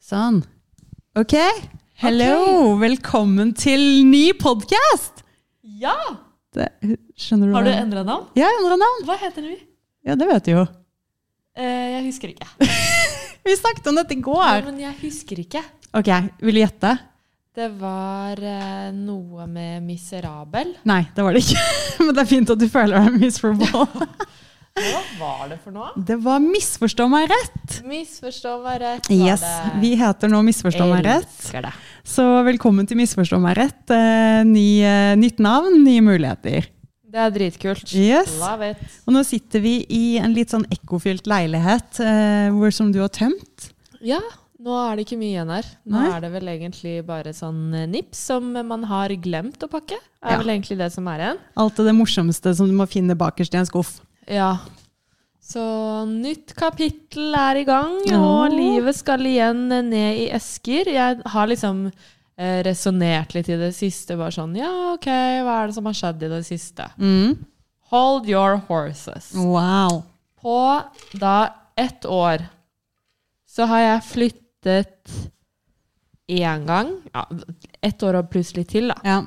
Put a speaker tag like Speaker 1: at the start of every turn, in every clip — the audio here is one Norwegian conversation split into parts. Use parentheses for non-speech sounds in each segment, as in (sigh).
Speaker 1: Sånn. Ok. Hello! Velkommen til ny podkast!
Speaker 2: Ja!
Speaker 1: Skjønner du
Speaker 2: Har du
Speaker 1: hva-
Speaker 2: endra navn?
Speaker 1: Ja, jeg endra navn.
Speaker 2: Hva heter vi?
Speaker 1: Ja, det vet du jo.
Speaker 2: Eh, jeg husker ikke.
Speaker 1: Vi snakket om dette i
Speaker 2: Ja,
Speaker 1: går.
Speaker 2: men jeg husker ikke.
Speaker 1: Ok, Vil du gjette?
Speaker 2: Det var eh, noe med miserabel.
Speaker 1: Nei, det var det ikke. (laughs) Men det er fint at du føler deg miserable.
Speaker 2: Hva var det for noe?
Speaker 1: Det var Misforstå meg rett.
Speaker 2: Misforstå meg rett. var
Speaker 1: Yes,
Speaker 2: det.
Speaker 1: Vi heter nå Misforstå meg rett.
Speaker 2: Elsker det.
Speaker 1: Så velkommen til Misforstå meg rett. Eh, Ny, eh, nytt navn, nye muligheter.
Speaker 2: Det er dritkult.
Speaker 1: Yes.
Speaker 2: Love it.
Speaker 1: Og nå sitter vi i en litt sånn ekkofylt leilighet eh, hvor som du har tømt.
Speaker 2: Ja, nå er det ikke mye igjen her. Nå
Speaker 1: Nei.
Speaker 2: er det vel egentlig bare sånn eh, nips som man har glemt å pakke. Er
Speaker 1: Ja.
Speaker 2: vel egentlig det som er igjen.
Speaker 1: Alt det morsomste som du må finne bakerst i en skuff.
Speaker 2: Ja. Så nytt kapittel er i gang,
Speaker 1: Ja.
Speaker 2: og livet skal igjen ned i esker. Jeg har liksom eh, resonnert litt i det siste. Bare sånn Ja, OK, hva er det som har skjedd i det siste? Hold your horses.
Speaker 1: Mm. Wow.
Speaker 2: På da ett år så har jeg flyttet én gang. Ja, ett år og pluss litt til, da.
Speaker 1: Ja.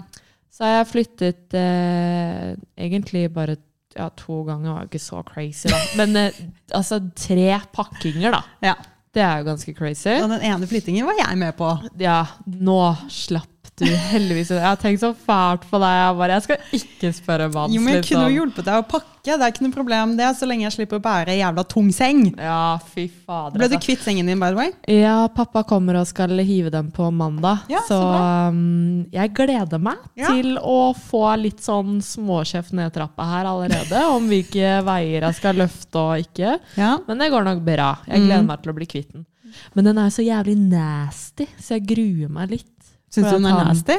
Speaker 2: Så har jeg flyttet eh, egentlig bare ja, to ganger, var jo ikke så crazy, da. Men eh, altså tre pakkinger, da.
Speaker 1: ja.
Speaker 2: Det er jo ganske crazy.
Speaker 1: Og den ene flyttingen var jeg med på.
Speaker 2: Ja, nå slapp du heldigvis. Jeg har tenkt så fælt på deg. Jeg bare, jeg skal ikke spørre Mans,
Speaker 1: Jo, men Jeg kunne jo
Speaker 2: liksom.
Speaker 1: hjulpet deg å pakke, det er ikke noe problem det, så lenge jeg slipper å bære jævla tung seng.
Speaker 2: Ja, fy fader.
Speaker 1: Ble du
Speaker 2: altså.
Speaker 1: kvitt sengen din, by the way?
Speaker 2: Ja, pappa kommer og skal hive dem på mandag.
Speaker 1: Ja,
Speaker 2: så
Speaker 1: så bra.
Speaker 2: um, jeg gleder meg
Speaker 1: Ja.
Speaker 2: til å få litt sånn småkjeft ned trappa her allerede. om hvilke veier jeg skal løfte og ikke.
Speaker 1: Ja.
Speaker 2: Men det går nok bra. Jeg gleder meg til å bli kvitt den. Men den er jo så jævlig nasty, så jeg gruer meg litt.
Speaker 1: Syns
Speaker 2: For
Speaker 1: du den
Speaker 2: at
Speaker 1: er
Speaker 2: han-
Speaker 1: nasty?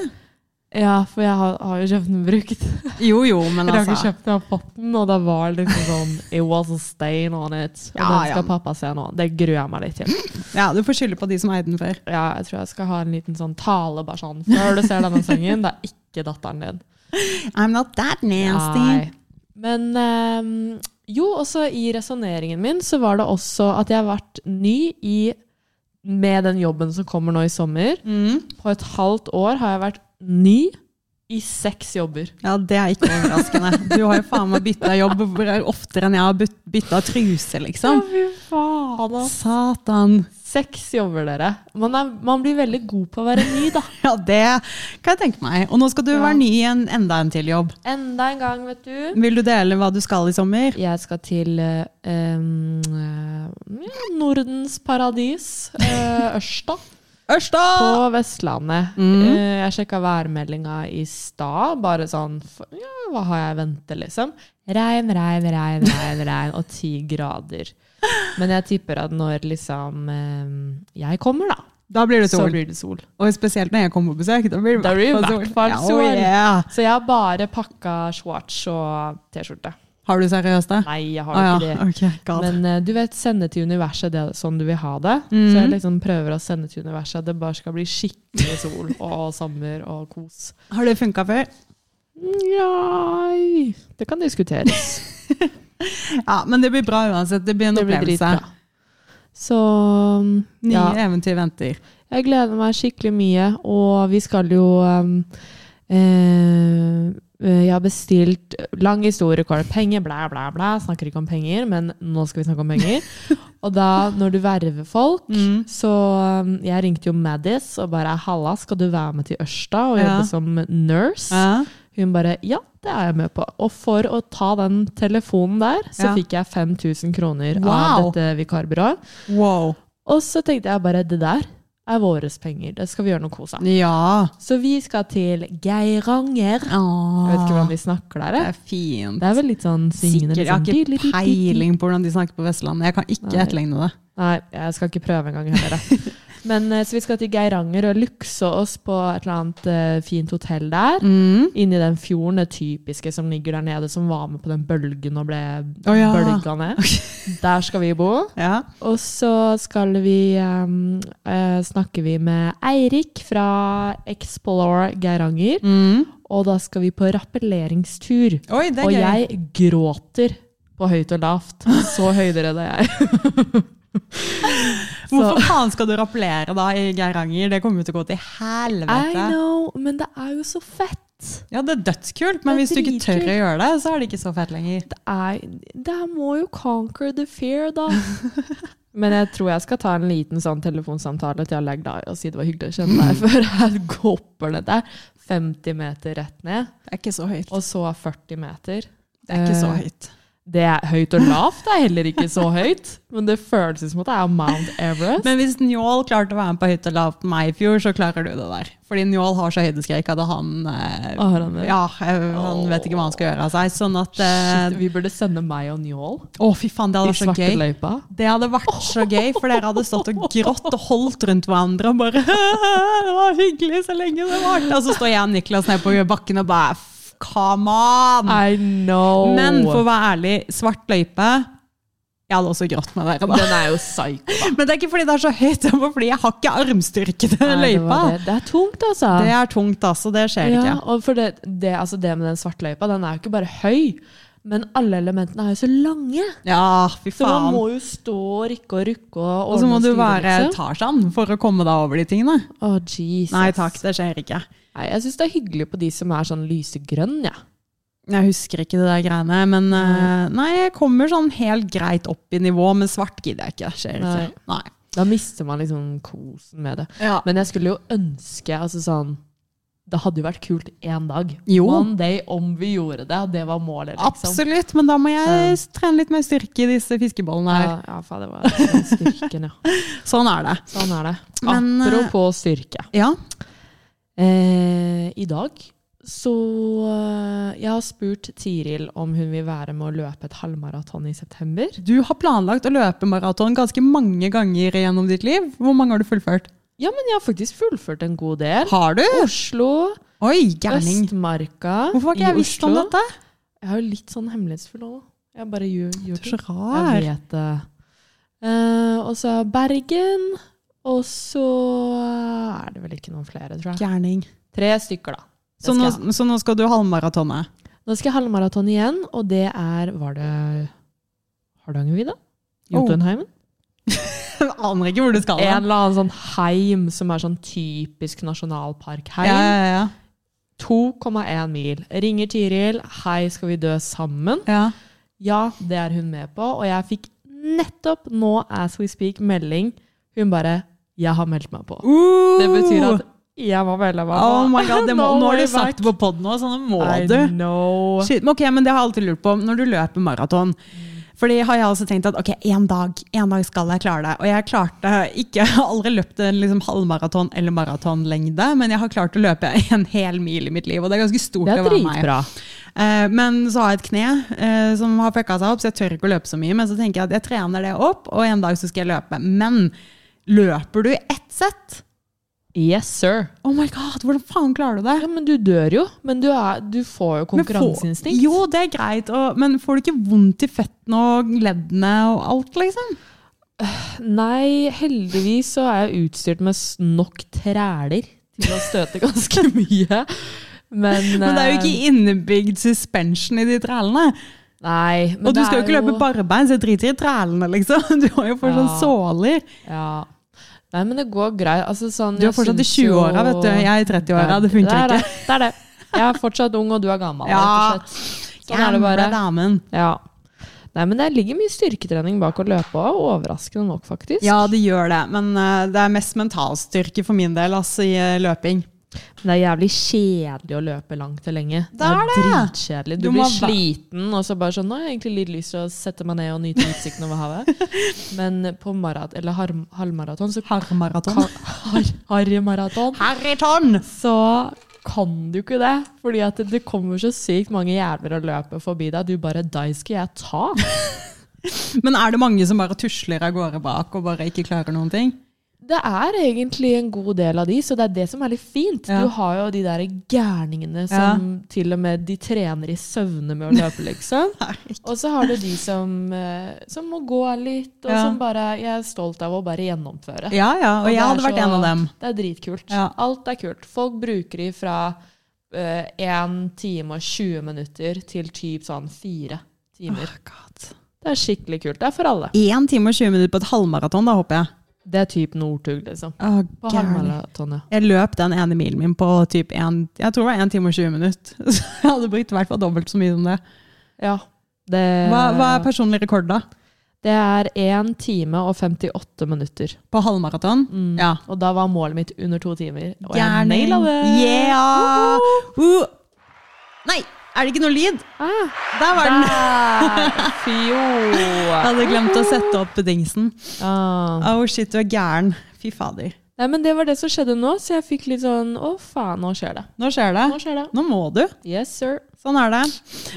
Speaker 2: Ja, for jeg har, har jo kjøpt den (laughs) brukt.
Speaker 1: Jo, jo, men
Speaker 2: Jeg har ikke
Speaker 1: altså.
Speaker 2: kjøpt den, jeg har fått den, og da var det liksom sånn It was a stain on it. Og
Speaker 1: Ja,
Speaker 2: den skal
Speaker 1: ja.
Speaker 2: pappa se nå. Det gruer jeg meg litt til.
Speaker 1: Ja, du får skylde på de som eide den før.
Speaker 2: Ja, jeg tror jeg skal ha en liten sånn tale bare sånn Før du ser denne sangen, det er ikke datteren din.
Speaker 1: I'm not that nasty.
Speaker 2: Nei. Men ehm, jo, også i resonneringen min så var det også at jeg har vært ny i med den jobben som kommer nå i sommer.
Speaker 1: Mm.
Speaker 2: På et halvt år har jeg vært ny i seks jobber.
Speaker 1: Ja, det er ikke (laughs) overraskende. Du har jo faen meg bytta jobb oftere enn jeg har bytta truse, liksom.
Speaker 2: fy faen,
Speaker 1: Satan.
Speaker 2: Seks jobber, dere. Man, er, man blir veldig god på å være ny, da.
Speaker 1: (laughs) Ja, det kan jeg tenke meg. Og nå skal du
Speaker 2: Ja.
Speaker 1: være ny i en, enda en til jobb.
Speaker 2: (laughs) Enda en gang, vet du.
Speaker 1: Vil du dele hva du skal i sommer?
Speaker 2: Jeg skal til eh, em, eh, ja, Nordens paradis, eh, Ørsta,
Speaker 1: Ørsta!
Speaker 2: på Vestlandet.
Speaker 1: Ah. Mm.
Speaker 2: Eh, jeg sjekka værmeldinga i stad, bare sånn f- ja, Hva har jeg i vente, liksom? Regn, regn, regn, regn, regn og ti grader. Men jeg tipper at når liksom em, jeg kommer, da,
Speaker 1: Da blir det
Speaker 2: så
Speaker 1: sol.
Speaker 2: blir det sol.
Speaker 1: Og spesielt når jeg kommer på besøk. Da blir det
Speaker 2: Da blir det i hvert fall
Speaker 1: Ja, oh
Speaker 2: sol.
Speaker 1: yeah.
Speaker 2: Så jeg har bare pakka shorts og T-skjorte.
Speaker 1: Har du seriøst det?
Speaker 2: Nei, jeg har
Speaker 1: Å
Speaker 2: ikke det.
Speaker 1: ja. (laughs) Ok, god.
Speaker 2: Men eh, du vet, sende til universet det er sånn du vil ha det. Så
Speaker 1: Mm.
Speaker 2: jeg liksom prøver å sende til universet at det bare skal bli skikkelig sol og sommer og kos.
Speaker 1: Har det funka før?
Speaker 2: Nei Det kan diskuteres.
Speaker 1: Ja, men det blir bra uansett. Det blir en
Speaker 2: Det blir
Speaker 1: opplevelse.
Speaker 2: dritbra. Så mm,
Speaker 1: Nye
Speaker 2: ja.
Speaker 1: eventyr venter.
Speaker 2: Jeg gleder meg skikkelig mye, og vi skal jo um, eh, Jeg har bestilt lang historie, kort penger, blæ, blæ, blæ. Snakker ikke om penger, men nå skal vi snakke om
Speaker 1: (laughs)
Speaker 2: penger. og da, når du verver folk,
Speaker 1: Mm.
Speaker 2: så um, Jeg ringte jo Maddis og bare 'Halla, skal du være med til Ørsta og
Speaker 1: Ja.
Speaker 2: jobbe som nurse?'
Speaker 1: Ja.
Speaker 2: Hun bare 'Ja, det er jeg med på'. Og for å ta den telefonen der, så
Speaker 1: Ja.
Speaker 2: fikk jeg 5000 kroner av
Speaker 1: Wow.
Speaker 2: dette vikarbyrået.
Speaker 1: Wow.
Speaker 2: Og så tenkte jeg bare, det der er våres penger. Det skal vi gjøre noe kos av.
Speaker 1: Ja.
Speaker 2: Så vi skal til Geiranger. Jeg vet ikke hvordan de snakker der.
Speaker 1: Det
Speaker 2: jeg.
Speaker 1: er fint.
Speaker 2: Det er vel litt sånn syngende.
Speaker 1: Ah. Sikkert. Jeg har
Speaker 2: litt
Speaker 1: ikke
Speaker 2: sånn-
Speaker 1: peiling på hvordan de snakker på Vestlandet. Jeg kan ikke
Speaker 2: Nei.
Speaker 1: etterligne det.
Speaker 2: Nei, jeg skal ikke prøve engang heller.
Speaker 1: (laughs)
Speaker 2: jeg. Men eh, så vi skal til Geiranger og lukse oss på et eller annet eh, fint hotell der.
Speaker 1: Mm.
Speaker 2: Inni den fjorden, det typiske som ligger der nede, som var med på den bølgen og ble
Speaker 1: Å ja.
Speaker 2: bølga ned. Der skal vi bo.
Speaker 1: Ja.
Speaker 2: Og så skal vi um, eh, snakke vi med Eirik fra Explore Geiranger.
Speaker 1: Mm.
Speaker 2: Og da skal vi på rappelleringstur.
Speaker 1: Oi, det er
Speaker 2: Og
Speaker 1: gøy.
Speaker 2: (laughs) jeg gråter på høyt og lavt. Så høyderedd er jeg.
Speaker 1: Hvorfor faen skal du rappellere da i Geiranger? Det kommer jo til å gå til
Speaker 2: I
Speaker 1: helvete.
Speaker 2: know, men det er jo så fett.
Speaker 1: Ja, det er dødskult, men
Speaker 2: Det er
Speaker 1: hvis du ikke tør å
Speaker 2: dritkult.
Speaker 1: gjøre det, så er det ikke så fett lenger.
Speaker 2: Det er Det her må jo conquer the fear, da. (laughs) Men jeg tror jeg skal ta en liten sånn telefonsamtale til Alec Dye og si det var hyggelig å kjenne (laughs) deg, før jeg hopper ned der. 50 meter rett ned,
Speaker 1: Det er ikke så høyt.
Speaker 2: og så 40 meter.
Speaker 1: Det er ikke så høyt.
Speaker 2: Det er høyt og lavt, det er heller ikke så høyt. Men det føles som at det er Mount Everest.
Speaker 1: Men hvis Njål klarte å være med på Høyt og lavt med meg i fjor, så klarer du det der. Fordi Njål har så høydeskrekk at han eh,
Speaker 2: Å, har han det?
Speaker 1: Ja, eh, han vet ikke hva han skal gjøre av seg. Sånn at eh,
Speaker 2: Shit, vi burde sende meg og Njål
Speaker 1: Å, fy faen, det
Speaker 2: i
Speaker 1: hadde vært så gøy.
Speaker 2: svarteløypa.
Speaker 1: Det hadde vært så gøy, for dere hadde stått og grått og holdt rundt hverandre og bare (laughs) Det var hyggelig så lenge det varte. Og så står jeg og Niklas nede på bakken og bare "F- Come on!
Speaker 2: I know!
Speaker 1: Men for å være ærlig, svart løype Jeg hadde også grått med dere, da.
Speaker 2: Den er jo psycho.
Speaker 1: Men det er ikke fordi det er så høyt, det er bare fordi jeg har ikke armstyrke til den
Speaker 2: Nei, det
Speaker 1: løypa.
Speaker 2: var det. Det er tungt, altså.
Speaker 1: Det er tungt, altså. Det skjer
Speaker 2: ja,
Speaker 1: ikke.
Speaker 2: og for det, det, altså det med den svartløypa, den er jo ikke bare høy, men alle elementene er jo så lange.
Speaker 1: Ja, fy
Speaker 2: Så man
Speaker 1: faen.
Speaker 2: må jo stå og rykke og rukke og
Speaker 1: Og så må
Speaker 2: ordne
Speaker 1: du
Speaker 2: styre,
Speaker 1: være
Speaker 2: liksom.
Speaker 1: Tarzan for å komme deg over de tingene.
Speaker 2: Å, Jesus.
Speaker 1: Nei takk, det skjer ikke.
Speaker 2: Nei, jeg syns det er hyggelig på de som er sånn lysegrønn, ja.
Speaker 1: Jeg husker ikke det der greiene, men eh, nei, jeg kommer sånn helt greit opp i nivå, men svart gidder jeg ikke. Skjer ikke. Nei.
Speaker 2: Da mister man liksom kosen med det.
Speaker 1: Ja.
Speaker 2: Men jeg skulle jo ønske altså sånn Det hadde jo vært kult én dag.
Speaker 1: Jo.
Speaker 2: One day om vi gjorde det, og det var målet, liksom.
Speaker 1: Absolutt, men da må jeg trene litt mer styrke i disse fiskebollene her.
Speaker 2: Ja, ja, faen, det var sånn styrken, ja.
Speaker 1: Sånn er det.
Speaker 2: Sånn er det.
Speaker 1: Men, eh,
Speaker 2: Apropos styrke.
Speaker 1: Ja.
Speaker 2: Eh, I dag så eh, Jeg har spurt Tiril om hun vil være med å løpe et halvmaraton i september.
Speaker 1: Du har planlagt å løpe maraton ganske mange ganger gjennom ditt liv. Hvor mange har du fullført?
Speaker 2: Ja, men jeg har faktisk fullført en god del.
Speaker 1: Har du?
Speaker 2: Oslo,
Speaker 1: Oi, gærning.
Speaker 2: Østmarka
Speaker 1: Hvorfor har ikke jeg
Speaker 2: i
Speaker 1: visst om
Speaker 2: Oslo.
Speaker 1: dette?
Speaker 2: Jeg er jo litt sånn hemmelighetsfull òg. Jeg bare gjør, gjør
Speaker 1: Du er så
Speaker 2: ting. Jeg
Speaker 1: rar.
Speaker 2: vet det. Eh, og så Bergen. Og så er det vel ikke noen flere, tror jeg.
Speaker 1: Gærning.
Speaker 2: Tre stykker, da. Det
Speaker 1: Så
Speaker 2: skal
Speaker 1: nå,
Speaker 2: jeg ha.
Speaker 1: så nå skal du halvmaratonet?
Speaker 2: Nå skal jeg halvmaraton igjen, og det er Var det Hardangervidda? Jotunheimen?
Speaker 1: Jeg aner ikke hvor du skal.
Speaker 2: En
Speaker 1: Oh. da.
Speaker 2: eller annen sånn heim som er sånn typisk nasjonalparkheim.
Speaker 1: Ja, ja, ja.
Speaker 2: 2,1 mil. Ringer Tiril. 'Hei, skal vi dø sammen?'
Speaker 1: ja.
Speaker 2: Ja, det er hun med på. Og jeg fikk nettopp nå, as we speak, melding. Hun bare 'Jeg har meldt meg på'. Det betyr at jeg må melde meg på.
Speaker 1: Uh. Oh my god,
Speaker 2: (laughs)
Speaker 1: det må,
Speaker 2: No
Speaker 1: Nå har
Speaker 2: way
Speaker 1: du sagt
Speaker 2: back.
Speaker 1: det på poden òg, så nå må
Speaker 2: I
Speaker 1: du.
Speaker 2: know.
Speaker 1: Shit, men ok, men det har jeg alltid lurt på. Når du løper maraton Fordi har jeg også tenkt at ok, én dag en dag skal jeg klare det. Og jeg klarte ikke, jeg har aldri løpt en liksom halvmaraton eller maratonlengde, men jeg har klart å løpe en hel mil i mitt liv, og det er ganske stort
Speaker 2: Det er
Speaker 1: å være meg.
Speaker 2: dritbra.
Speaker 1: Eh, Men så har jeg et kne eh, som har fucka seg opp, så jeg tør ikke å løpe så mye. Men så tenker jeg at jeg trener det opp, og en dag så skal jeg løpe. Men løper du i ett sett?
Speaker 2: Yes, sir.
Speaker 1: Oh my god, hvordan faen klarer du det?
Speaker 2: Ja, men du dør jo. Men du, er, du får jo
Speaker 1: Men får-
Speaker 2: konkurranseinstinkt.
Speaker 1: Jo, det er greit, og, men får du ikke vondt i føttene og leddene og alt, liksom?
Speaker 2: Nei, heldigvis så er jeg utstyrt med s- nok træler til å støte ganske (laughs) mye. Men,
Speaker 1: Men det er jo
Speaker 2: eh,
Speaker 1: ikke innebygd suspension i de trælene.
Speaker 2: Nei, men
Speaker 1: Og du
Speaker 2: det
Speaker 1: skal jo
Speaker 2: er
Speaker 1: ikke løpe barbein, så jeg driter i trælene, liksom. (laughs) Du har jo fortsatt
Speaker 2: Ja.
Speaker 1: såler.
Speaker 2: Ja. Nei, men det går greit. Altså, sånn,
Speaker 1: Du er
Speaker 2: jeg
Speaker 1: fortsatt i
Speaker 2: syns jo-
Speaker 1: 20-åra, vet du. Jeg er i 30-åra, det funker
Speaker 2: er
Speaker 1: ikke.
Speaker 2: Det, det er det. Jeg er fortsatt ung, og du er gammel.
Speaker 1: Ja.
Speaker 2: rett og slett. Sånn er det bare.
Speaker 1: Gamle damen.
Speaker 2: Ja. Nei, men det ligger mye styrketrening bak å løpe òg, overraskende nok, faktisk.
Speaker 1: Ja, det gjør det, men eh, det er mest mentalstyrke for min del, altså, i eh, løping.
Speaker 2: Men Det er jævlig kjedelig å løpe langt og lenge.
Speaker 1: Det er det!
Speaker 2: dritkjedelig. Du,
Speaker 1: Du må
Speaker 2: blir
Speaker 1: ha væ-
Speaker 2: sliten, og så bare sånn Nå har jeg egentlig litt lyst til å sette meg ned og nyte utsikten over havet.
Speaker 1: (laughs)
Speaker 2: Men på marat eller har halvmaraton, så
Speaker 1: Harmaraton.
Speaker 2: kan har Harrymaraton,
Speaker 1: Harryton!
Speaker 2: så kan du ikke det. Fordi at det- det kommer så sykt mange jævler og løper forbi deg. Du bare Deg skal jeg ta!
Speaker 1: Men er det mange som bare tusler av gårde bak og bare ikke klarer noen ting?
Speaker 2: Det er egentlig en god del av de, så det er det som er litt fint.
Speaker 1: Ja.
Speaker 2: Du har jo de der gærningene som til og med de trener i søvne med å løpe,
Speaker 1: (laughs)
Speaker 2: liksom. Og så har du de som, eh, som må gå litt, og
Speaker 1: Ja.
Speaker 2: som bare Jeg er stolt av å bare gjennomføre.
Speaker 1: Ja, ja, og,
Speaker 2: det
Speaker 1: jeg
Speaker 2: er
Speaker 1: hadde vært
Speaker 2: så-
Speaker 1: en av dem.
Speaker 2: Det er dritkult.
Speaker 1: Ja.
Speaker 2: Alt er kult. Folk bruker de fra eh, 1 time og 20 minutter til typ sånn 4 timer.
Speaker 1: God.
Speaker 2: Det er skikkelig kult. Det er for alle.
Speaker 1: 1 time og 20 minutter på et halvmaraton, da håper jeg.
Speaker 2: Det er typ Northug, liksom.
Speaker 1: Å,
Speaker 2: På
Speaker 1: gærne.
Speaker 2: halvmaraton, ja.
Speaker 1: Jeg løp den ene milen min på typ en, jeg tror det var 1 time og 20 minutter. (laughs) Så jeg hadde brukt i hvert fall dobbelt så mye som det.
Speaker 2: ja. Det,
Speaker 1: Hva, hva er personlig rekord, da?
Speaker 2: det er 1 time og 58 minutter.
Speaker 1: På halvmaraton?
Speaker 2: Mm.
Speaker 1: Ja.
Speaker 2: Og da var målet mitt under to timer. Og jeg
Speaker 1: Gærning.
Speaker 2: naila det!
Speaker 1: Yeah! Uh. Nei, er det ikke noe lyd?
Speaker 2: Ah,
Speaker 1: Der var den! (laughs)
Speaker 2: der!
Speaker 1: Jeg
Speaker 2: Fjo!
Speaker 1: hadde glemt å sette opp dingsen.
Speaker 2: Ah.
Speaker 1: Oh shit, du er gæren. Fy fader.
Speaker 2: Nei, men det var det som skjedde nå, så jeg fikk litt sånn Å, faen, nå skjer det.
Speaker 1: Nå skjer det.
Speaker 2: Nå skjer det.
Speaker 1: Nå må du.
Speaker 2: Yes, sir.
Speaker 1: Sånn er det.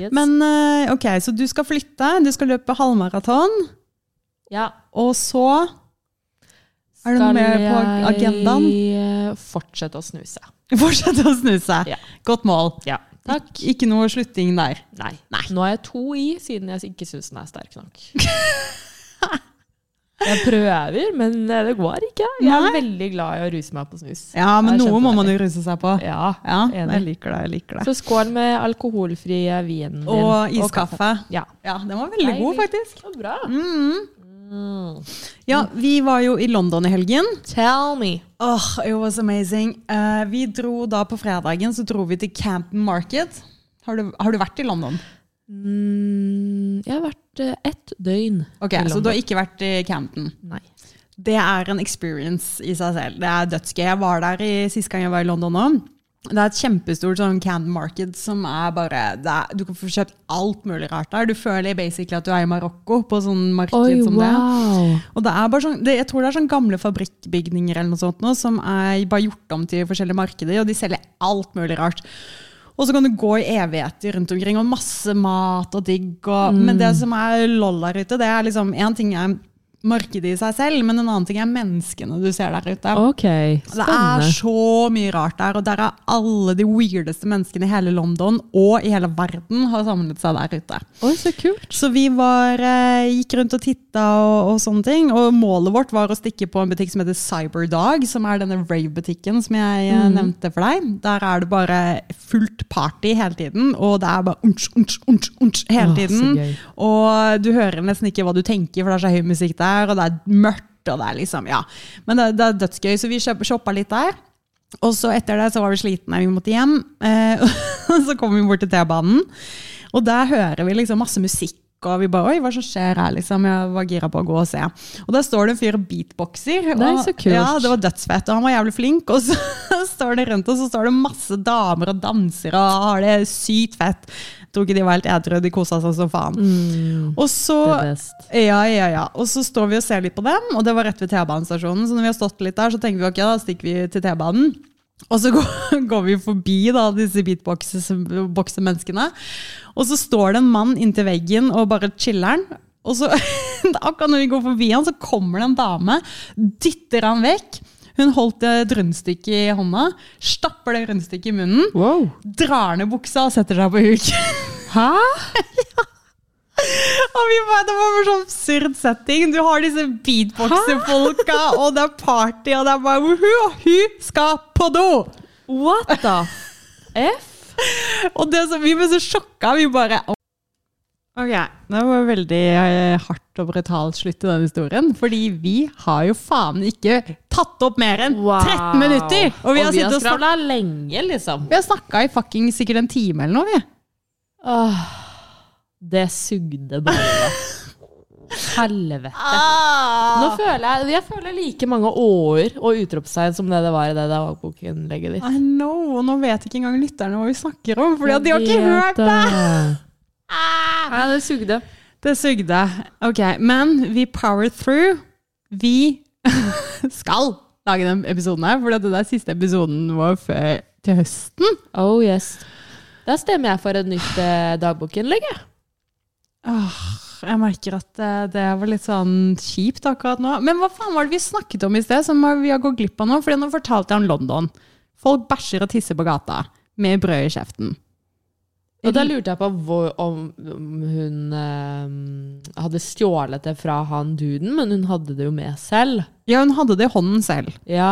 Speaker 2: Yes.
Speaker 1: Men eh, ok, så du skal flytte. Du skal løpe halvmaraton.
Speaker 2: ja.
Speaker 1: Og så Er det noe mer på agendaen? (laughs)
Speaker 2: jeg eh, fortsette å snuse?
Speaker 1: fortsette å snuse.
Speaker 2: Ja.
Speaker 1: Godt mål.
Speaker 2: Ja.
Speaker 1: Takk. ikke noe slutting der.
Speaker 2: Nei.
Speaker 1: Nei.
Speaker 2: Nå er jeg to i, siden jeg ikke syns den er sterk nok. (laughs) Jeg prøver, men eh, det går ikke. Jeg er
Speaker 1: Nei.
Speaker 2: veldig glad i å ruse meg på snus.
Speaker 1: Ja, men
Speaker 2: Det er
Speaker 1: noe må
Speaker 2: kjempedeilig.
Speaker 1: man jo ruse seg på.
Speaker 2: Ja,
Speaker 1: Ja, jeg
Speaker 2: enig.
Speaker 1: liker det. jeg liker det.
Speaker 2: Så skål med alkoholfrie vinen din.
Speaker 1: Og iskaffe. Mm.
Speaker 2: Ja.
Speaker 1: Ja, den var veldig god,
Speaker 2: Deilig.
Speaker 1: faktisk.
Speaker 2: Så bra. Mm.
Speaker 1: Ja, vi var jo i London i helgen.
Speaker 2: Tell me.
Speaker 1: Åh, it was amazing. Eh, vi dro da på fredagen, så dro vi til Campen Market. Har du, har du vært i London?
Speaker 2: Mm, jeg har vært eh, ett døgn
Speaker 1: Ok,
Speaker 2: i
Speaker 1: Så du
Speaker 2: London.
Speaker 1: har ikke vært i Campen?
Speaker 2: Nei.
Speaker 1: Det er en experience i seg selv. Det er dødsgøy. Jeg var der i, sist gang jeg var i London òg. Det er et kjempestort sånn Camden Market som er bare det er, Du kan få kjøpt alt mulig rart der. Du føler basically at du er i Marokko på sånn marked
Speaker 2: Oi,
Speaker 1: som det.
Speaker 2: wow.
Speaker 1: Og det er bare sånn, det, jeg tror det er sånn gamle fabrikkbygninger eller noe sånt nå, som er bare gjort om til forskjellige markeder, og de selger alt mulig rart. Og så kan du gå i evigheter rundt omkring, og masse mat og digg. Og, Men det som er lol der ute, det er liksom en ting er markedet i seg selv, men en annen ting er menneskene du ser der ute.
Speaker 2: Ok,
Speaker 1: Det er
Speaker 2: spennende.
Speaker 1: så mye rart der, og der er alle de weirdeste menneskene i hele London og i hele verden har samlet seg der ute.
Speaker 2: Oi, så kult.
Speaker 1: Så vi var, eh, gikk rundt og titta og, og sånne ting. Og målet vårt var å stikke på en butikk som heter Cyberdog, som er denne rave-butikken som jeg
Speaker 2: Mhm.
Speaker 1: eh, nevnte for deg. Der er det bare fullt party hele tiden, og det er bare unch, unch, unch, unch hele
Speaker 2: Åh, så
Speaker 1: tiden.
Speaker 2: gøy.
Speaker 1: Og du hører nesten ikke hva du tenker, for det er så høy musikk der, og det er mørkt. og det er liksom, ja. Men det, det er dødsgøy, så vi kjøp- shoppa litt der. Og så etter det så var vi slitne, vi måtte hjem. Eh, (laughs) og så kom vi bort til T-banen, og der hører vi liksom masse musikk. Og vi bare Oi, hva som skjer her? liksom, Jeg var gira på å gå og se. Og der står det en fyr og beatboxer.
Speaker 2: Nei,
Speaker 1: og-
Speaker 2: så kult.
Speaker 1: Ja, det var dødsfett. Og han var jævlig flink. Og så (laughs) står det rundt, og så står det masse damer og danser og har det sykt fett. Jeg tror ikke de var helt edru, de kosa seg som faen. Og så
Speaker 2: Mm. Det er best.
Speaker 1: ja, ja, ja. Og så står vi og ser litt på dem, og det var rett ved T-banestasjonen. Så når vi har stått litt der, så tenker vi ok, da stikker vi til T-banen. Og så (laughs) går, går vi forbi da, disse beatboxer-menneskene. Og så står det en mann inntil veggen og bare chiller'n. Og så, (laughs) akkurat når vi går forbi han, så kommer det en dame, dytter han vekk. Hun holdt et rundstykke i hånda, stapper det rundstykket i munnen,
Speaker 2: Wow.
Speaker 1: drar ned buksa og setter seg på huk. (laughs)
Speaker 2: Hæ?
Speaker 1: Og vi bare, Det var bare sånn absurd setting. Du har disse beatboxer-folka, og det er party, og det er bare woohoo, og hun skal på do!
Speaker 2: What the F?
Speaker 1: Og det som, vi ble så sjokka. Vi bare Ok, Det var veldig eh, hardt og brutalt slutt i den historien. Fordi vi har jo faen ikke tatt opp mer enn 13 minutter! Og vi har, sittet og snakket-
Speaker 2: skravla lenge, liksom.
Speaker 1: vi har snakka i fucking sikkert en time eller noe, vi.
Speaker 2: Åh, det sugde bare. Helvete.
Speaker 1: Ah.
Speaker 2: Nå føler jeg, jeg føler like mange åer og utropstegn som det det var i det dagbokinnlegget ditt.
Speaker 1: I know, og nå vet ikke engang lytterne hva vi snakker om, for de har ikke hørt det!
Speaker 2: Nei, det sugde.
Speaker 1: Det sugde. Ok, men vi power through. Vi (laughs) skal lage den episoden her, for dette er siste episoden vår før til høsten.
Speaker 2: Oh yes. Da stemmer jeg for et nytt eh, dagbokinnlegg. jeg.
Speaker 1: Åh, jeg merker at det, det var litt sånn kjipt akkurat nå. Men hva faen var det vi snakket om i sted som vi har gått glipp av nå? Fordi nå fortalte jeg om London. Folk bæsjer og tisser på gata med brød i kjeften.
Speaker 2: Og da lurte jeg på hvor, om, om hun eh, hadde stjålet det fra han duden, men hun hadde det jo med selv.
Speaker 1: Ja, hun hadde det i hånden selv.
Speaker 2: Ja.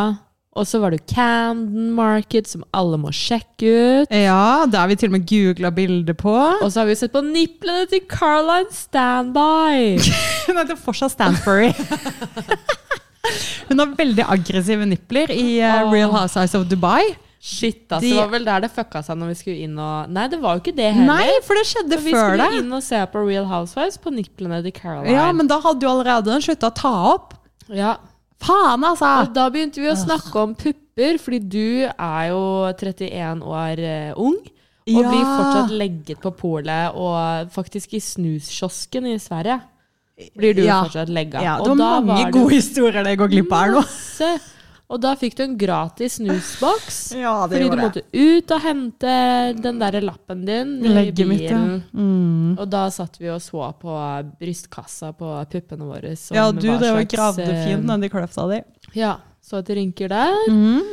Speaker 2: Og så var det Camden Market, som alle må sjekke ut.
Speaker 1: Ja, det har vi til og med googla bilder på.
Speaker 2: Og så har vi jo sett på nipplene til Caroline
Speaker 1: (laughs)
Speaker 2: Standby!
Speaker 1: Hun heter fortsatt Stanford.
Speaker 2: (laughs)
Speaker 1: Hun har veldig aggressive nipler i eh, Real Housewives of Dubai.
Speaker 2: Shit, ass.
Speaker 1: De-
Speaker 2: Det var vel der det fucka seg når vi skulle inn og Nei, det var jo ikke det heller.
Speaker 1: Nei, for det skjedde
Speaker 2: vi
Speaker 1: før
Speaker 2: skulle
Speaker 1: det.
Speaker 2: inn og se på Real Housewives på nipplene til Caroline.
Speaker 1: Ja, men da hadde jo allerede hun slutta å ta opp.
Speaker 2: Ja.
Speaker 1: Faen, altså!
Speaker 2: Og da begynte vi å snakke om pupper, fordi du er jo 31 år eh, ung. Og
Speaker 1: Ja.
Speaker 2: blir fortsatt legget på polet, og faktisk i snuskiosken i Sverige blir du
Speaker 1: Ja.
Speaker 2: fortsatt legga.
Speaker 1: Ja, det
Speaker 2: Og
Speaker 1: var
Speaker 2: da
Speaker 1: mange
Speaker 2: det
Speaker 1: gode historier det jeg går glipp av her nå.
Speaker 2: masse. Og da fikk du en gratis snusboks.
Speaker 1: (laughs) Ja, det
Speaker 2: fordi du
Speaker 1: gjorde
Speaker 2: måtte ut og hente den der lappen din i
Speaker 1: Legget mitt, ja.
Speaker 2: bilen.
Speaker 1: Mm.
Speaker 2: Og da satt vi og så på brystkassa på puppene våre. som
Speaker 1: Ja, du
Speaker 2: Sånn hva
Speaker 1: drev og
Speaker 2: slags,
Speaker 1: gravde
Speaker 2: eh,
Speaker 1: fint nedi kløfta di.
Speaker 2: Ja, så etter rynker der. Mm.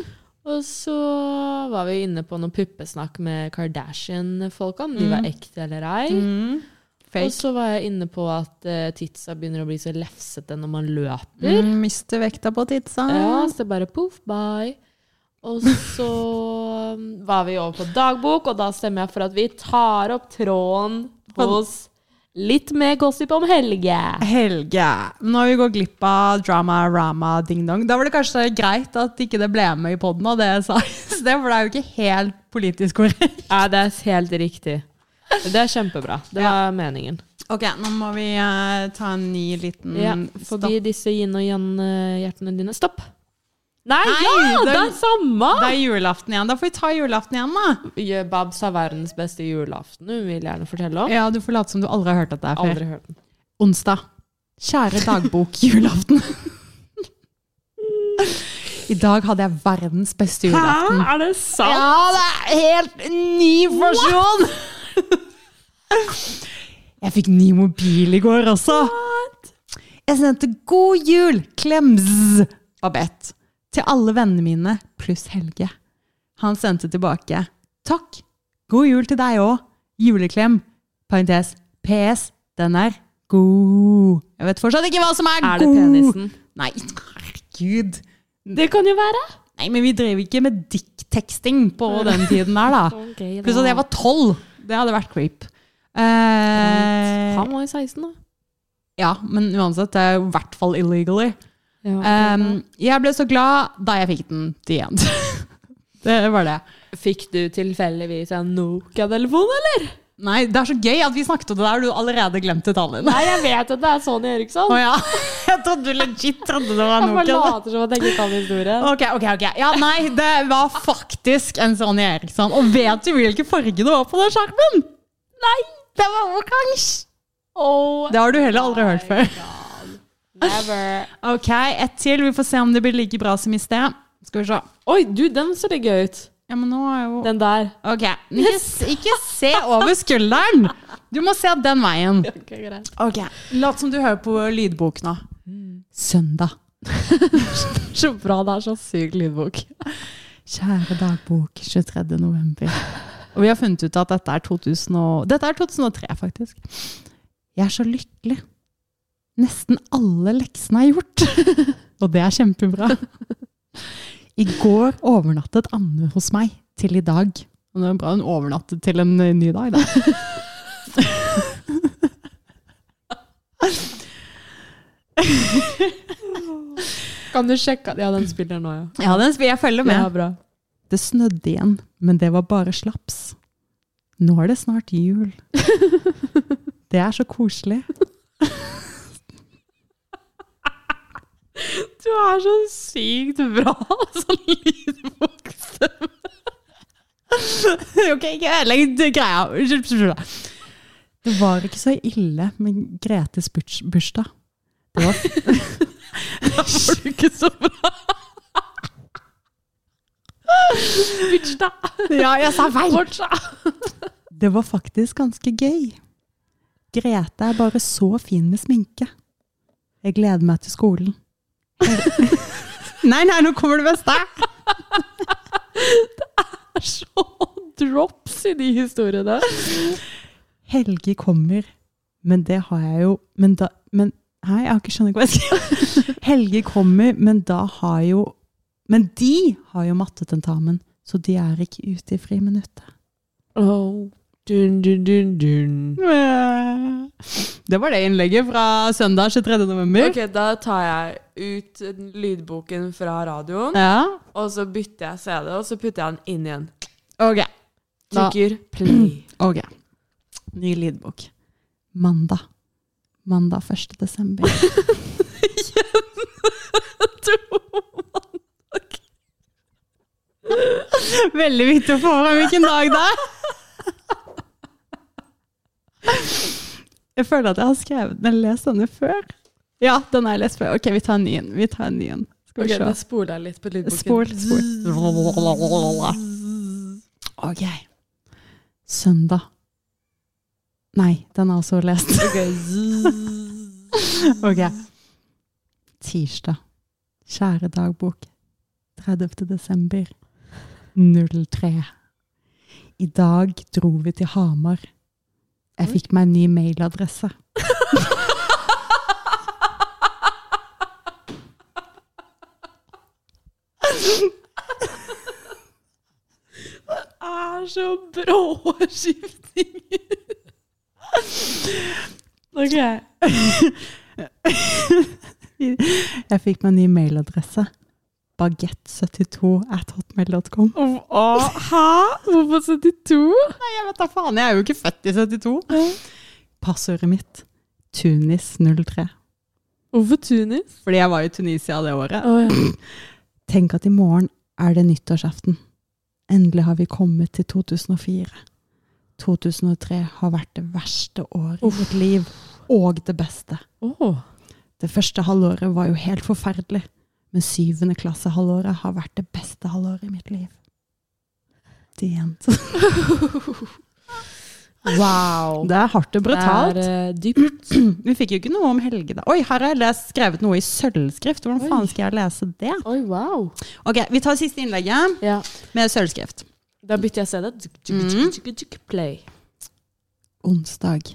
Speaker 2: Og så var vi inne på noe puppesnakk med Kardashian-folka, om de var ekte eller ei.
Speaker 1: Mm.
Speaker 2: Og så var jeg inne på at eh, titsa begynner å bli så lefsete når man løper.
Speaker 1: Mm, mister vekta på tidsa.
Speaker 2: Ja, så det bare poof, bye. Og så um, var vi over på dagbok, og da stemmer jeg for at vi tar opp tråden hos Litt mer gossip om Helge.
Speaker 1: Helge. Når vi går glipp av drama, rama, ding dong, da var det kanskje greit at ikke det ble med i poden av det jeg sa i sted, for det er jo ikke helt politisk korrekt.
Speaker 2: Ja, det er helt riktig. Det er kjempebra. Det var meningen.
Speaker 1: Ok, nå må vi eh, ta en ny liten
Speaker 2: Ja,
Speaker 1: stopp.
Speaker 2: forbi disse yin og yang-hjertene dine. Stopp! Nei,
Speaker 1: Nei,
Speaker 2: ja! Det
Speaker 1: den-
Speaker 2: er samme!
Speaker 1: Det er julaften igjen. Da får vi ta julaften igjen, da.
Speaker 2: Ja, Babs har verdens beste julaften, hun vil gjerne fortelle om.
Speaker 1: Ja, du får late som du aldri har hørt dette her før.
Speaker 2: Aldri hørt den.
Speaker 1: Onsdag. Kjære dagbok julaften. (laughs) I dag hadde jeg verdens beste julaften.
Speaker 2: Er det sant?
Speaker 1: Ja, det er helt ny versjon! Jeg fikk ny mobil i går også. Jeg sendte 'God jul, klems', Babette, til alle vennene mine pluss Helge. Han sendte tilbake 'Takk, god jul til deg òg'. Juleklem. Parentes. PS. Den er god. Jeg vet fortsatt ikke hva som er,
Speaker 2: Er det
Speaker 1: god.
Speaker 2: penisen?
Speaker 1: Nei, herregud.
Speaker 2: Det kan jo være.
Speaker 1: Nei, men vi drev ikke med dickteksting på den tiden der, da. Pluss at jeg var tolv. Det hadde vært creep. Eh,
Speaker 2: Han var jo 16, da.
Speaker 1: ja, men uansett, det er jo i hvert fall illegally.
Speaker 2: Um,
Speaker 1: Um, jeg ble så glad da jeg fikk den til igjen. (laughs) det var det.
Speaker 2: Fikk du tilfeldigvis en Nokia-telefon, eller?
Speaker 1: Nei, det er så gøy at vi snakket om det der, og du allerede glemte tallene.
Speaker 2: Nei, jeg vet at det er Sonny Eriksson.
Speaker 1: Å ja. (laughs) Jeg trodde du legit trodde det var
Speaker 2: Han bare
Speaker 1: Nokia.
Speaker 2: later som at jeg ikke kan historien.
Speaker 1: Ok, ok, ok. Ja, nei, det var faktisk en Sonny Eriksson. Og vet du hvilken farge det var på den skjermen? Nei, det var oransje.
Speaker 2: Oh,
Speaker 1: Det har du heller aldri hørt før.
Speaker 2: never.
Speaker 1: Ok, ett til. Vi får se om det blir like bra som i sted. Skal vi se.
Speaker 2: Oi, du, den ser litt gøy ut.
Speaker 1: Ja, men nå er jo...
Speaker 2: Den der.
Speaker 1: Ok, ikke, s- ikke se over skulderen. Du må se den veien. Ok, lat som du hører på lydbok nå.
Speaker 2: Mm.
Speaker 1: Søndag.
Speaker 2: Så bra, det er så syk lydbok.
Speaker 1: Kjære dagbok, 23. november. Og vi har funnet ut at dette er, 2000 og, dette er 2003, faktisk. Jeg er så lykkelig. Nesten alle leksene er gjort. (laughs) Og det er kjempebra. I går overnattet Anne hos meg til i dag. Og det er bra hun overnattet til en eh, ny dag, da.
Speaker 2: Kan du sjekke at Ja, den spiller nå, ja.
Speaker 1: (laughs) Ja, den vil jeg følge
Speaker 2: Ja, bra.
Speaker 1: Det snødde igjen, men det var bare slaps. Nå er det snart (laughs) jul. Det er så koselig.
Speaker 2: Du er så sykt bra (laughs) sånn lydbokstemme.
Speaker 1: (laughs) Ok, ikke ødelegg det greia. Unnskyld, unnskyld, unnskyld. Det var ikke så ille med Gretes buts- bursdag. Det (laughs) var
Speaker 2: Var du ikke så bra? Bitch, da.
Speaker 1: Ja, jeg sa feil!
Speaker 2: Fortsatt.
Speaker 1: Det var faktisk ganske gøy. Grete er bare så fin med sminke. Jeg gleder meg til (laughs) skolen. Nei, nei, nå kommer det beste!
Speaker 2: Det er så drops i de historiene.
Speaker 1: Helge kommer, men det har jeg jo Men da (laughs) men, Nei, jeg har ikke skjønner ikke hva jeg sier. Helge kommer, men da har jo Men de har jo mattetentamen, så de er ikke ute i friminuttet.
Speaker 2: Oh. Dun, dun, dun, dun.
Speaker 1: Det var det innlegget fra søndag 23. november.
Speaker 3: Ok, da tar jeg ut lydboken fra radioen,
Speaker 1: Ja.
Speaker 3: og så bytter jeg CD, og så putter jeg den inn igjen.
Speaker 1: Ok. Da-
Speaker 2: (clears throat)
Speaker 3: Trykker play.
Speaker 1: Ok. Ny lydbok. Mandag. Mandag 1. desember. (laughs) Veldig viktig å få fram hvilken dag det er. Jeg føler at jeg har skrevet den, lest denne før. Ja, den har jeg lest før. Ok, vi tar en ny en. Vi tar en ny en. Skal
Speaker 3: Ok,
Speaker 1: vi
Speaker 3: da
Speaker 1: se.
Speaker 3: spoler jeg litt på lydboken.
Speaker 1: Spol,
Speaker 2: (clears throat)
Speaker 1: spol. Ok. Søndag. Nei, den er også lest. Ok. Tirsdag. Kjære dagbok. 30. desember. 03. I dag dro vi til Hamar. Jeg fikk meg en ny mailadresse.
Speaker 3: Det er så brå skiftinger.
Speaker 1: Ok. Jeg fikk meg en ny mailadresse. Bagett72 at hotmail.com.
Speaker 3: Hæ? Hvorfor 72?
Speaker 1: Nei, jeg vet da faen. Jeg er jo ikke født i 72. Passordet mitt. Tunis03.
Speaker 3: Hvorfor Tunis?
Speaker 1: Fordi jeg var i Tunisia det året.
Speaker 3: Å, ja.
Speaker 1: Tenk at i morgen er det nyttårsaften. Endelig har vi kommet til 2004. 2003 har vært det verste året i mitt liv, og det beste.
Speaker 2: Åh.
Speaker 1: Det første halvåret var jo helt forferdelig, men syvende klassehalvåret har vært det beste halvåret i mitt liv. The end.
Speaker 2: Wow.
Speaker 1: Det er hardt og brutalt.
Speaker 2: Det er eh, dypt.
Speaker 1: Vi fikk jo ikke noe om helge da. Oi, her har jeg lest, skrevet noe i sølvskrift. Hvordan faen skal jeg lese det?
Speaker 2: Oi, wow.
Speaker 1: Ok, vi tar siste innlegget
Speaker 2: Ja.
Speaker 1: med sølvskrift.
Speaker 2: Da bytter jeg CD. Tuk, tuk,
Speaker 1: Mm.
Speaker 2: tuk, tuk, tuk, Play.
Speaker 1: Onsdag.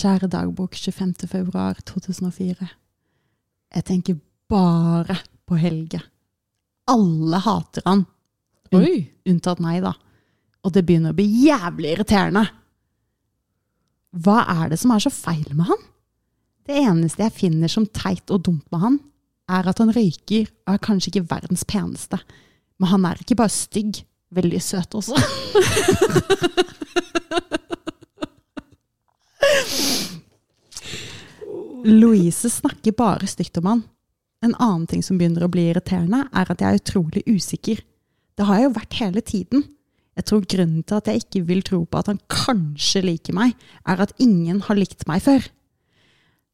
Speaker 1: Kjære dagbok 25. februar 2004. Jeg tenker bare på Helge. Alle hater han, Mm.
Speaker 2: Oi.
Speaker 1: unntatt meg, da. Og det begynner å bli jævlig irriterende. Hva er det som er så feil med han? Det eneste jeg finner som teit og dumt med han, er at han røyker og er kanskje ikke verdens peneste. Men han er ikke bare stygg, veldig søt også. (laughs) Louise snakker bare stygt om han. En annen ting som begynner å bli irriterende, er at jeg er utrolig usikker. Det har jeg jo vært hele tiden. Jeg tror grunnen til at jeg ikke vil tro på at han kanskje liker meg, er at ingen har likt meg før.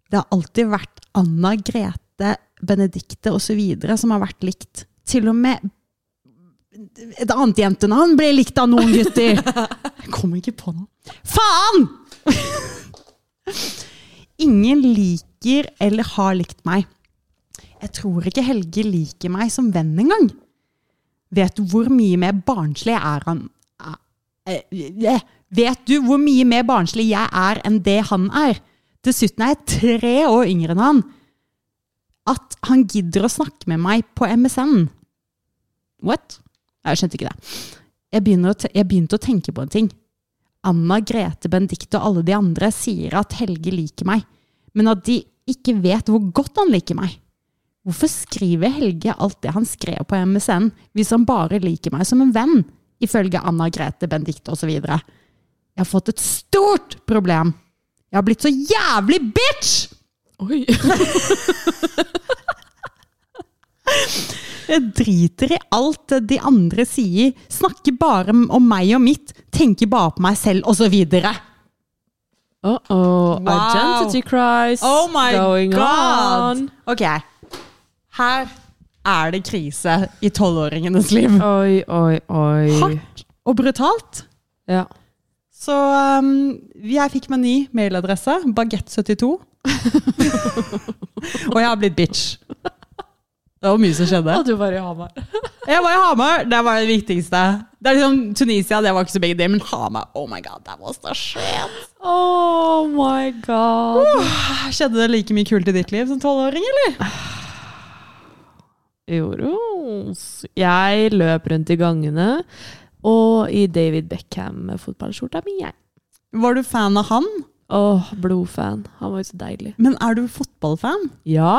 Speaker 1: Det har alltid vært Anna, Grete, Benedikte osv. som har vært likt. Til og med et annet jentenavn ble likt av noen gutter! Jeg kommer ikke på noe. Faen! Ingen liker eller har likt meg. Jeg tror ikke Helge liker meg som venn engang. Vet du hvor mye mer barnslig er han eh, eh, Vet du hvor mye mer barnslig jeg er enn det han er? Dessuten er jeg tre år yngre enn han. At han gidder å snakke med meg på MSN. What? Jeg skjønte ikke det. Jeg, begynner å te- jeg begynte å tenke på en ting. Anna, Grete, Benedicte og alle de andre sier at Helge liker meg, men at de ikke vet hvor godt han liker meg. Hvorfor skriver Helge alt det han skrev på MSN, hvis han bare liker meg som en venn, ifølge Anna, Grete, Benedicte osv.? Jeg har fått et stort problem! Jeg har blitt så jævlig bitch!
Speaker 2: Mm. (laughs)
Speaker 3: Oi.
Speaker 1: Jeg driter i alt de andre sier, snakker bare om meg og mitt, tenker bare på meg selv osv.
Speaker 2: Uh oh.
Speaker 1: Wow.
Speaker 2: Identity crisis
Speaker 1: Oh my
Speaker 2: going
Speaker 1: god!
Speaker 2: on.
Speaker 1: Ok. Her er det krise i tolvåringenes liv.
Speaker 2: Oi, oi, oi.
Speaker 1: Hardt og brutalt.
Speaker 2: Ja.
Speaker 1: Så um, jeg fikk meg ny mailadresse,
Speaker 2: (laughs)
Speaker 1: bagett72. og jeg har blitt bitch. Det var mye som skjedde.
Speaker 3: Og du var i Hamar.
Speaker 1: Jeg var i Hamar, det var det viktigste. Det er liksom Tunisia, det var ikke så big deal, men Hamar, oh my god, that was the shit. Ah,
Speaker 2: Oh my god.
Speaker 1: Skjedde det like mye kult i ditt liv som tolvåring, eller?
Speaker 2: Joros. Jeg løp rundt i gangene, og i David Beckham-fotballskjorta mi, jeg.
Speaker 1: Var du fan av han?
Speaker 2: Åh, blodfan. Han var jo så deilig.
Speaker 1: Men er du fotballfan?
Speaker 2: Ja!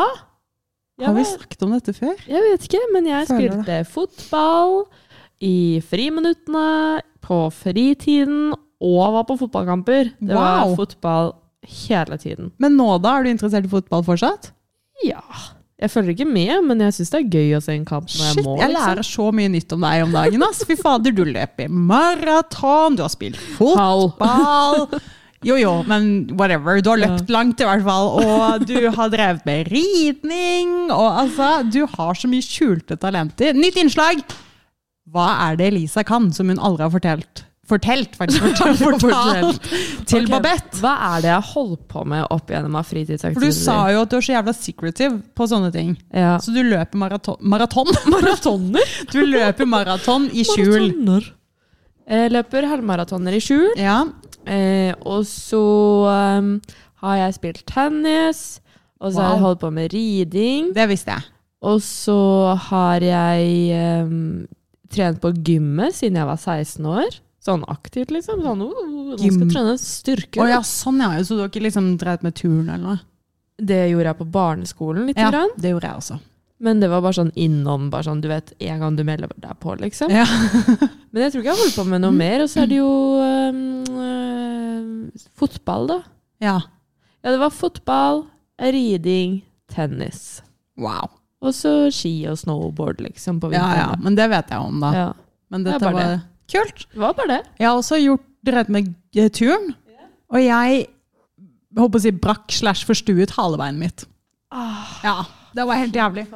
Speaker 2: Jeg
Speaker 1: Har vi
Speaker 2: var-
Speaker 1: snakket om dette før?
Speaker 2: Jeg vet ikke, men jeg
Speaker 1: Føler
Speaker 2: spilte fotball i friminuttene, på fritiden og var på fotballkamper. Det var
Speaker 1: Wow.
Speaker 2: fotball hele tiden.
Speaker 1: Men nå da, er du interessert i fotball fortsatt?
Speaker 2: Ja. Jeg følger ikke med, men jeg syns det er gøy å se en kamp når
Speaker 1: Shit,
Speaker 2: jeg må.
Speaker 1: jeg
Speaker 2: liksom.
Speaker 1: lærer så mye nytt om deg om dagen. Ass. Fy fader, du løper i maraton, du har spilt
Speaker 2: Halv.
Speaker 1: fotball. Jo jo, men whatever. Du har løpt langt i hvert fall. Og du har drevet med ridning. Og altså, du har så mye skjulte talenter. Nytt innslag! Hva er det Elisa kan som hun aldri har fortelt? Fortelt,
Speaker 2: (laughs)
Speaker 1: faktisk. Fortalt,
Speaker 2: Fortalt.
Speaker 1: til
Speaker 2: Ok,
Speaker 1: Babette.
Speaker 2: Hva er det jeg har holdt på med opp gjennom av
Speaker 1: For du
Speaker 2: fritidsaktiviteter?
Speaker 1: sa jo at du er så jævla secretive på sånne ting.
Speaker 2: ja.
Speaker 1: Så du løper maraton Maraton! (laughs)
Speaker 2: Maratoner?
Speaker 1: Du løper maraton i skjul.
Speaker 2: Maratoner. Jeg Eh, løper halvmaratoner i skjul.
Speaker 1: Ja,
Speaker 2: Eh, og så um, har jeg spilt tennis. Og så har jeg
Speaker 1: Wow.
Speaker 2: holdt på med riding.
Speaker 1: det visste jeg.
Speaker 2: Og så har jeg um, trent på gymmet siden jeg var 16 år. Sånn aktivt, liksom. Sånn, oh, nå skal
Speaker 1: Gym.
Speaker 2: jeg trene styrke.
Speaker 1: Å ja, sånn ja. Så du har ikke liksom drevet med turn eller noe?
Speaker 2: Det gjorde jeg på barneskolen lite
Speaker 1: Ja,
Speaker 2: grann.
Speaker 1: det gjorde jeg også.
Speaker 2: Men det var bare sånn innom, bare sånn, du vet, en gang du melder deg på, liksom.
Speaker 1: Ja.
Speaker 2: (laughs)
Speaker 1: Mm.
Speaker 2: Men jeg tror ikke jeg har holdt på med noe mer. Og så er det jo um, eh, fotball, da.
Speaker 1: ja.
Speaker 2: Ja, det var fotball, riding, tennis.
Speaker 1: Wow.
Speaker 2: Og så ski og snowboard, liksom, på
Speaker 1: Ja, ja,
Speaker 2: vinteren.
Speaker 1: men det vet jeg om, da.
Speaker 2: da. Ja.
Speaker 1: Men
Speaker 2: Det er
Speaker 1: dette
Speaker 2: bare
Speaker 1: var kult.
Speaker 2: Det var bare det.
Speaker 1: Jeg har også gjort, drevet med eh, turn, og jeg håper å si brakk slash forstuet halebeinet mitt.
Speaker 2: Ah.
Speaker 1: Ja, det var helt jævlig.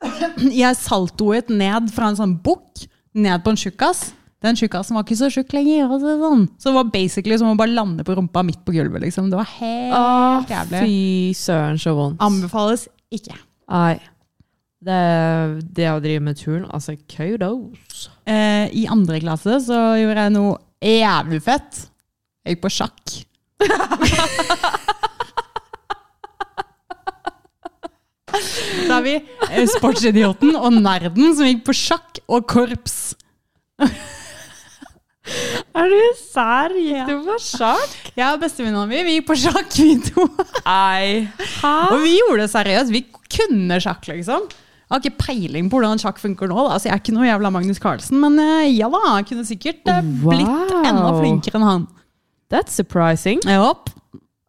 Speaker 1: (clears throat) Jeg saltoet ned fra en sånn bukk, ned på en tjukkas. Den tjukkasen var ikke så tjukk lenger. og så Sånn. Så det var basically som å bare lande på rumpa midt på gulvet. Liksom. Det var helt
Speaker 2: Å,
Speaker 1: jævlig.
Speaker 2: Ah, fy søren, så vondt.
Speaker 1: Anbefales ikke.
Speaker 2: Nei. Det, det å drive med turn, altså kudos.
Speaker 1: Eh, I andre klasse så gjorde jeg noe jævlig fett. Jeg gikk på sjakk. (laughs) Da har vi eh, sportsidioten og nerden som gikk på sjakk og korps.
Speaker 2: Er du sær? Gikk
Speaker 1: du
Speaker 2: på sjakk?
Speaker 1: Jeg og bestevenninna mi vi gikk på sjakk, vi (laughs) to.
Speaker 2: Nei. Hæ?
Speaker 1: Og vi gjorde det seriøst. Vi kunne sjakk, liksom. Jeg har ikke peiling på hvordan sjakk funker nå. Da. Altså, jeg er ikke noe jævla Magnus Carlsen, men eh, ja da, jeg kunne sikkert eh, blitt
Speaker 2: Wow.
Speaker 1: enda flinkere enn han.
Speaker 2: That's surprising.
Speaker 1: Jeg håper.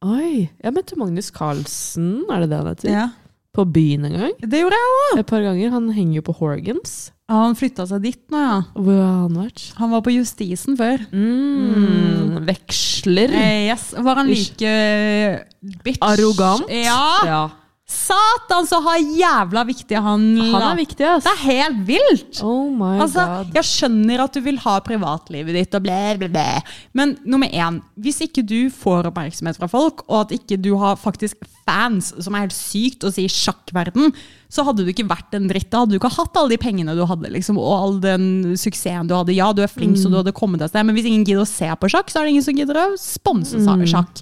Speaker 2: Oi, jeg møtte Magnus Carlsen, er det det han heter?
Speaker 1: Ja.
Speaker 2: På byen en gang.
Speaker 1: Det gjorde jeg òg.
Speaker 2: Et par ganger. Han henger jo på Horgans.
Speaker 1: Ja, han flytta seg dit nå, ja.
Speaker 2: Hvor har han vært?
Speaker 1: Han var på justisen før.
Speaker 2: Mm, veksler.
Speaker 1: Eh, yes. Var han
Speaker 2: Ish.
Speaker 1: like eh, bitch?
Speaker 2: Arrogant.
Speaker 1: Ja!
Speaker 2: ja.
Speaker 1: Satan, så har jævla viktig han
Speaker 2: Han er viktig, ass.
Speaker 1: Det er helt vilt!
Speaker 2: Oh my
Speaker 1: Altså,
Speaker 2: god.
Speaker 1: jeg skjønner at du vil ha privatlivet ditt og blæ, blæ, blæ. Men nummer én, hvis ikke du får oppmerksomhet fra folk, og at ikke du har faktisk fans, som er helt sykt å si i sjakkverden, så hadde du ikke vært en dritt. Da hadde du ikke hatt alle de pengene du hadde, liksom, og all den suksessen du hadde. Ja, du er flink,
Speaker 2: Mm.
Speaker 1: så du hadde kommet deg et sted, men hvis ingen gidder å se på sjakk, så er det ingen som gidder å sponse
Speaker 2: Mm.
Speaker 1: sa- sjakk.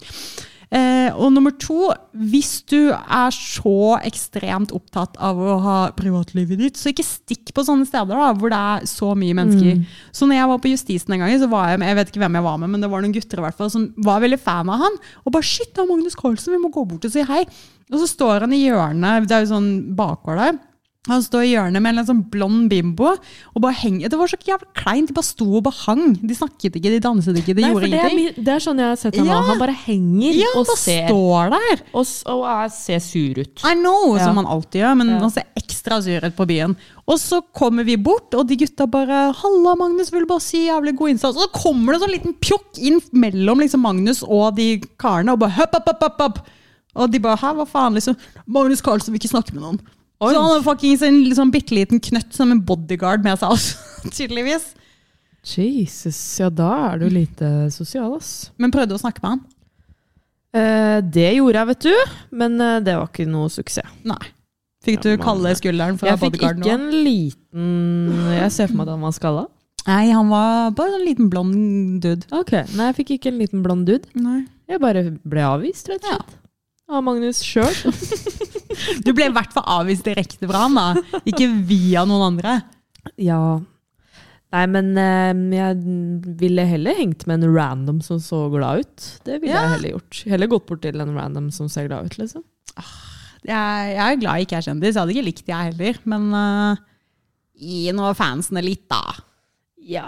Speaker 1: Eh, og nummer to, hvis du er så ekstremt opptatt av å ha privatlivet ditt, så ikke stikk på sånne steder da, hvor det er så mye mennesker.
Speaker 2: Mm.
Speaker 1: Så når jeg var på justisen en gang, så var jeg med, jeg vet ikke hvem jeg var med, men det var noen gutter i hvert fall, som var veldig fan av han. Og bare, shit, det er Magnus Carlsen, vi må gå bort og si hei. Og så står han i hjørnet, det er jo sånn bakgård der, han står i hjørnet med en sånn blond bimbo og bare henger. Det var så jævlig kleint, de bare sto og bare hang. De snakket ikke, de danset ikke, de
Speaker 2: Nei, for
Speaker 1: gjorde
Speaker 2: det, er,
Speaker 1: ingenting.
Speaker 2: mi- det er sånn jeg har sett ham.
Speaker 1: Ja.
Speaker 2: også. Han bare henger
Speaker 1: Ja,
Speaker 2: og
Speaker 1: han bare
Speaker 2: ser.
Speaker 1: står der.
Speaker 2: Og, s- og er, ser sur ut.
Speaker 1: I know,
Speaker 2: Ja.
Speaker 1: som han alltid gjør, men
Speaker 2: Ja.
Speaker 1: han ser ekstra sur ut på byen. Og så kommer vi bort, og de gutta bare 'Halla, Magnus, vil bare si jævlig god innsats.' Og så kommer det sånn liten pjokk inn mellom liksom Magnus og de karene, og bare høpp, høpp, høpp, høpp, høpp. Og de bare 'hæ, hva faen', liksom. 'Magnus Carlsen vil ikke snakke med noen'.
Speaker 2: Oi.
Speaker 1: Så han har fuckings en liksom, bitte liten knøtt som en bodyguard med seg, altså, (laughs) tydeligvis.
Speaker 2: Jesus, ja da er du lite sosial, ass.
Speaker 1: Men prøvde å snakke med han.
Speaker 2: Eh, det gjorde jeg, vet du, men eh, det var ikke noe suksess.
Speaker 1: Nei. Fikk du
Speaker 2: Ja, men- eh,
Speaker 1: kalde skulderen fra
Speaker 2: Jeg fikk
Speaker 1: bodyguarden?
Speaker 2: ikke
Speaker 1: også?
Speaker 2: en liten Jeg ser for meg at han var skalla.
Speaker 1: Nei, han var bare en liten blond dude.
Speaker 2: Ok, Nei, jeg fikk ikke en liten blond dude.
Speaker 1: Nei.
Speaker 2: Jeg bare ble avvist, rett og slett. Av Magnus sjøl.
Speaker 1: Du ble i hvert fall avvist direkte fra han, da. Ikke via noen andre.
Speaker 2: (laughs) Ja. Nei, men eh, jeg ville heller hengt med en random som så glad ut. Det ville
Speaker 1: Ja.
Speaker 2: jeg heller gjort. Heller gått bort til en random som ser glad ut, liksom.
Speaker 1: Jeg, jeg er glad jeg ikke er kjendis. Jeg hadde ikke likt det, jeg heller. Men eh, gi nå fansene litt, da.
Speaker 2: Ja.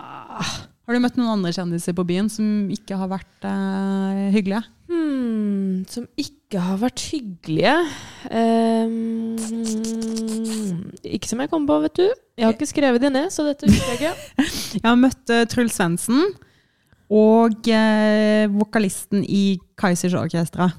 Speaker 1: Har du møtt noen andre kjendiser på byen som ikke har vært eh, hyggelige?
Speaker 2: Hmm, som ikke har vært hyggelige. Ehm, ikke som jeg kom på, vet du. Jeg har ikke skrevet de ned, så dette husker jeg (laughs) ikke.
Speaker 1: Jeg har møtt eh, Truls Svendsen og eh, vokalisten i Kaizers Orkestra.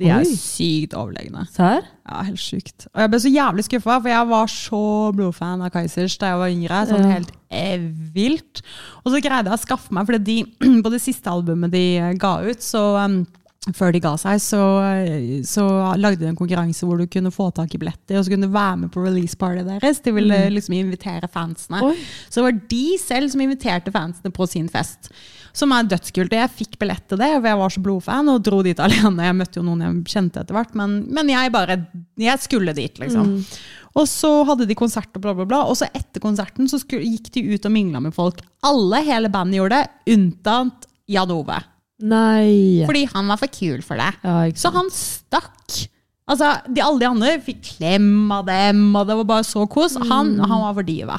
Speaker 1: De er
Speaker 2: Oi.
Speaker 1: sykt overlegne.
Speaker 2: Serr?
Speaker 1: Ja, helt sykt. Og jeg ble så jævlig skuffa, for jeg var så blodfan av Kaizers da jeg var yngre. Sånn
Speaker 2: Ja.
Speaker 1: helt eh, vilt. Og så greide jeg å skaffe meg, for de, (clears throat) på det siste albumet de eh, ga ut, så um, før de ga seg, så, eh, så lagde de en konkurranse hvor du kunne få tak i billetter, og så kunne du være med på releasepartyet deres. De ville liksom invitere fansene.
Speaker 2: Oi.
Speaker 1: Så det var de selv som inviterte fansene på sin fest. Som er dødskult. Og jeg fikk billett til det, for jeg var så blodfan og dro dit alene. Jeg møtte jo noen jeg kjente etter hvert, men, men jeg bare Jeg skulle dit, liksom. Og så hadde de konsert og bla, bla, bla. Og så etter konserten så skulle, gikk de ut og mingla med folk. Alle, hele bandet gjorde det, unntatt Jan Ove.
Speaker 2: Nei.
Speaker 1: Fordi han var for kul for det.
Speaker 2: Ja, ikke
Speaker 1: Så
Speaker 2: sant.
Speaker 1: han stakk. Altså, de, alle de andre fikk klem av dem, og det var bare så kos. Han, han var for diva.